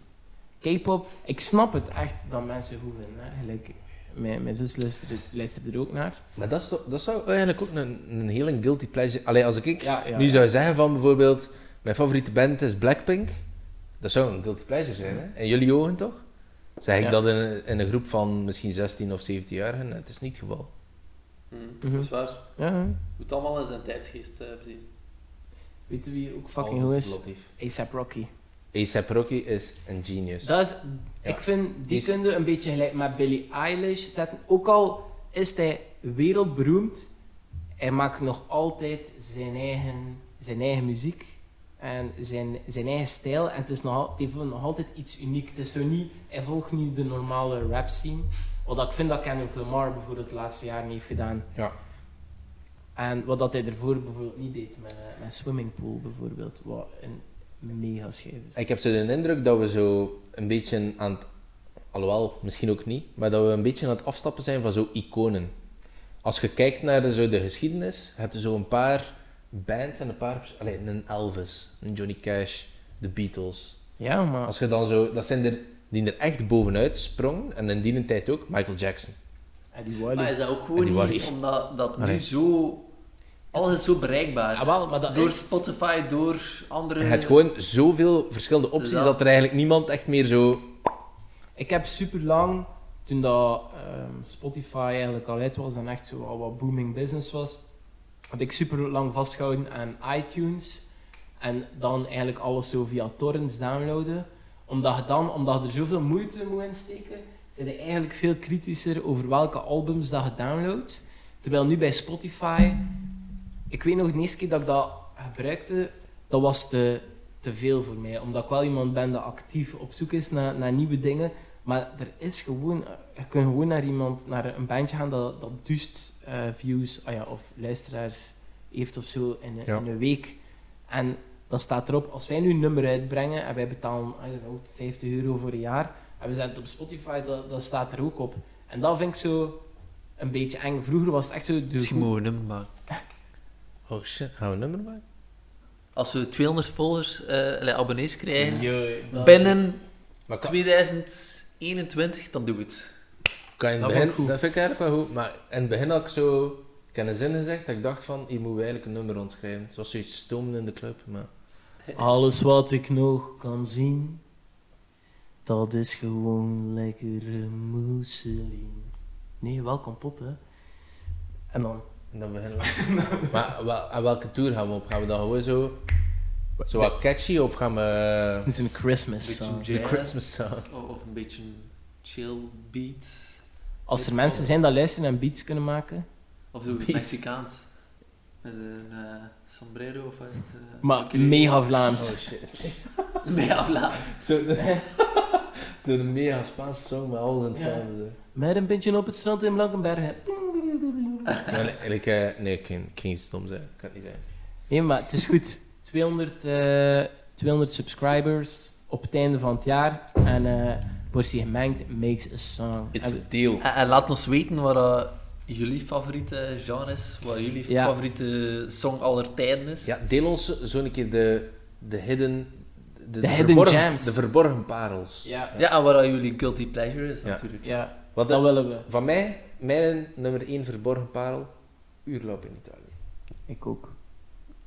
Speaker 1: K-pop, ik snap het echt dat mensen goed vinden. hè. Gelijk, mijn, mijn zus luistert, luistert er ook naar.
Speaker 3: Maar dat, is toch- dat zou eigenlijk ook een, een hele guilty pleasure... Allee, als ik
Speaker 1: Ja, ja.
Speaker 3: nu zou zeggen van bijvoorbeeld... Mijn favoriete band is Blackpink. Dat zou een guilty pleasure zijn, hè? In jullie ogen toch? Zeg ik
Speaker 1: Ja.
Speaker 3: dat in, een- in een groep van misschien 16 of 17-jarigen? Het is niet het geval.
Speaker 1: Mhm.
Speaker 4: Hm. Dat is waar.
Speaker 1: ja.
Speaker 4: Moet allemaal in zijn tijdsgeest eh, bezien.
Speaker 1: Weet je wie ook fucking goed is? ASAP Rocky.
Speaker 3: A$AP Rocky is een genius.
Speaker 1: Dat is,
Speaker 3: Ja.
Speaker 1: Ik vind die,
Speaker 3: Die is-
Speaker 1: kunde een beetje gelijk met Billie Eilish zetten. Ook al is hij wereldberoemd, hij maakt nog altijd zijn eigen, zijn eigen muziek en zijn, zijn eigen stijl. En het is nog, al- het heeft nog altijd iets uniek. Het is zo niet, hij volgt niet de normale rap scene. Wat ik vind dat Kendrick Lamar bijvoorbeeld de laatste jaren heeft gedaan.
Speaker 3: Ja.
Speaker 1: En wat dat hij ervoor bijvoorbeeld niet deed met, eh, met Swimmingpool bijvoorbeeld, wat een mega schijf is.
Speaker 3: Ik heb zo de indruk dat we zo een beetje aan het... Alhoewel, misschien ook niet. Maar dat we een beetje aan het afstappen zijn van zo iconen. Als je kijkt naar de, zo de geschiedenis, heb je zo een paar bands en een paar... pers- Allee, een Elvis, een Johnny Cash, de Beatles.
Speaker 1: Ja, maar...
Speaker 3: Als je dan zo... Dat zijn er die er echt bovenuit sprongen. En in die tijd ook Michael Jackson.
Speaker 1: Eddie Wally.
Speaker 4: Maar is dat ook gewoon
Speaker 3: die waren
Speaker 4: niet,
Speaker 3: hier.
Speaker 4: omdat dat nu
Speaker 3: Allee.
Speaker 4: zo... Alles is zo bereikbaar.
Speaker 1: Ah, wel, maar dat
Speaker 4: door
Speaker 1: is...
Speaker 4: Spotify, door andere...
Speaker 3: Je hebt gewoon zoveel verschillende opties
Speaker 4: Dus dat-
Speaker 3: dat er eigenlijk niemand echt meer zo...
Speaker 1: Ik heb super lang toen dat ehm, Spotify eigenlijk al uit was en echt zo wat, wat booming business was, heb ik super lang vastgehouden aan iTunes. En dan eigenlijk alles zo via torrents downloaden. Omdat je dan, omdat je er zoveel moeite moet insteken, zijn er eigenlijk veel kritischer over welke albums dat je downloadt. Terwijl nu bij Spotify, ik weet nog de eerste keer dat ik dat gebruikte, dat was te, te veel voor mij. Omdat ik wel iemand ben dat actief op zoek is naar, naar nieuwe dingen. Maar er is gewoon, je kunt gewoon naar iemand, naar een bandje gaan dat, dat duist eh, views ah ja, of luisteraars heeft of zo in, een-
Speaker 3: Ja.
Speaker 1: in een week. En dan staat erop, als wij nu een nummer uitbrengen en wij betalen I don't know, 50 euro voor een jaar en we zetten het op Spotify, dat, dat staat er ook op. En dat vind ik zo een beetje eng. Vroeger was het echt zo de
Speaker 4: Misschien
Speaker 1: goed-
Speaker 4: moeten we een nummer maken.
Speaker 3: Oh shit, gaan we een nummer maken?
Speaker 4: Als we 200 volgers, eh, allee, abonnees krijgen,
Speaker 1: Jee, dat-
Speaker 4: binnen
Speaker 3: Maar kan,
Speaker 4: 2021, dan doen we het.
Speaker 3: kan je in
Speaker 1: Dat
Speaker 3: het
Speaker 1: vond ik
Speaker 3: begin,
Speaker 1: goed.
Speaker 3: dat vind ik eigenlijk wel goed, maar in het begin had ik zo, ik heb een zin gezegd dat ik dacht van, hier moeten we eigenlijk een nummer ontschrijven. Het was zoiets stomen in de club, maar...
Speaker 1: Alles wat ik nog kan zien, dat is gewoon lekkere mousseline. Nee, wel kapot, hè. En dan...
Speaker 3: En dan beginnen we. maar wel, aan welke tour gaan we op? Gaan we dan gewoon zo, zo wat catchy of gaan we
Speaker 1: Dit is een Christmas
Speaker 4: Beetje
Speaker 1: song.
Speaker 4: jazz.
Speaker 3: de Christmas song?
Speaker 4: O- Of een beetje chill beats.
Speaker 1: Als er mensen zijn dat luisteren en beats kunnen maken...
Speaker 4: Of zo
Speaker 3: Beats.
Speaker 4: Mexicaans. Met een eh, sombrero of wat is het? eh,
Speaker 1: Maar
Speaker 4: maquillé.
Speaker 1: mega
Speaker 3: Oh
Speaker 1: Vlaams.
Speaker 3: shit.
Speaker 4: Mega Vlaams.
Speaker 3: Zo'n zo'n mega Spaanse song met al in het
Speaker 1: Ja.
Speaker 3: Vlaams. hè.
Speaker 1: Met een pintje op het strand in Blankenbergen.
Speaker 3: Zo, nee, eigenlijk, eh, nee, ik ging, ik ging iets stom zijn. Ik kan het niet zijn.
Speaker 1: Nee, maar het is goed. 200, eh, 200 subscribers op het einde van het jaar. En eh portie gemengd makes a song.
Speaker 3: It's
Speaker 1: En-
Speaker 3: a deal.
Speaker 4: En, en laat ons weten wat eh, jullie favoriete genre is, wat jullie
Speaker 1: Ja.
Speaker 4: favoriete song aller tijden is.
Speaker 3: Ja, deel ons zo'n keer de, de hidden... De, de
Speaker 1: hidden
Speaker 3: verborgen,
Speaker 1: gems.
Speaker 3: De verborgen parels.
Speaker 1: ja,
Speaker 4: Ja, en waar jullie guilty pleasure is
Speaker 3: Ja.
Speaker 4: natuurlijk.
Speaker 1: ja,
Speaker 3: Wat
Speaker 1: dat willen we.
Speaker 3: Van mij, mijn nummer 1 verborgen parel, uurloop in Italië.
Speaker 1: Ik ook.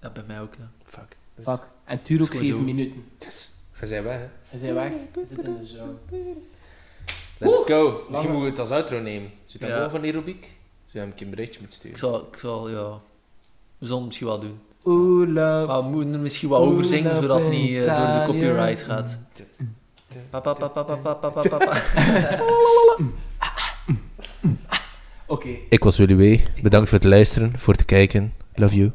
Speaker 4: Ja, bij mij ook, ja.
Speaker 3: Fuck. Dus,
Speaker 1: Fuck. En het duurt ook
Speaker 4: Het is gewoon
Speaker 1: 7
Speaker 4: zo.
Speaker 1: minuten.
Speaker 3: Yes. We zijn weg, hè.
Speaker 1: We zijn weg. We zitten in de zone.
Speaker 3: Let's go.
Speaker 1: Lange.
Speaker 3: Misschien moeten we het als outro nemen. Zit dat
Speaker 4: Ja.
Speaker 3: wel van die rubriek? Zou je hem een keer een berichtje moeten
Speaker 4: Ik
Speaker 3: sturen?
Speaker 4: zal, ik zal, ja... We zullen het misschien wel doen.
Speaker 1: Oeh, love.
Speaker 4: Maar we moeten er misschien wat over zingen, zodat het niet eh, door de copyright gaat. Pa, pa, pa, pa, pa, pa, pa, pa, pa.
Speaker 1: Oké.
Speaker 3: Ik was Willy W. Bedankt voor het luisteren, voor het kijken. Love you.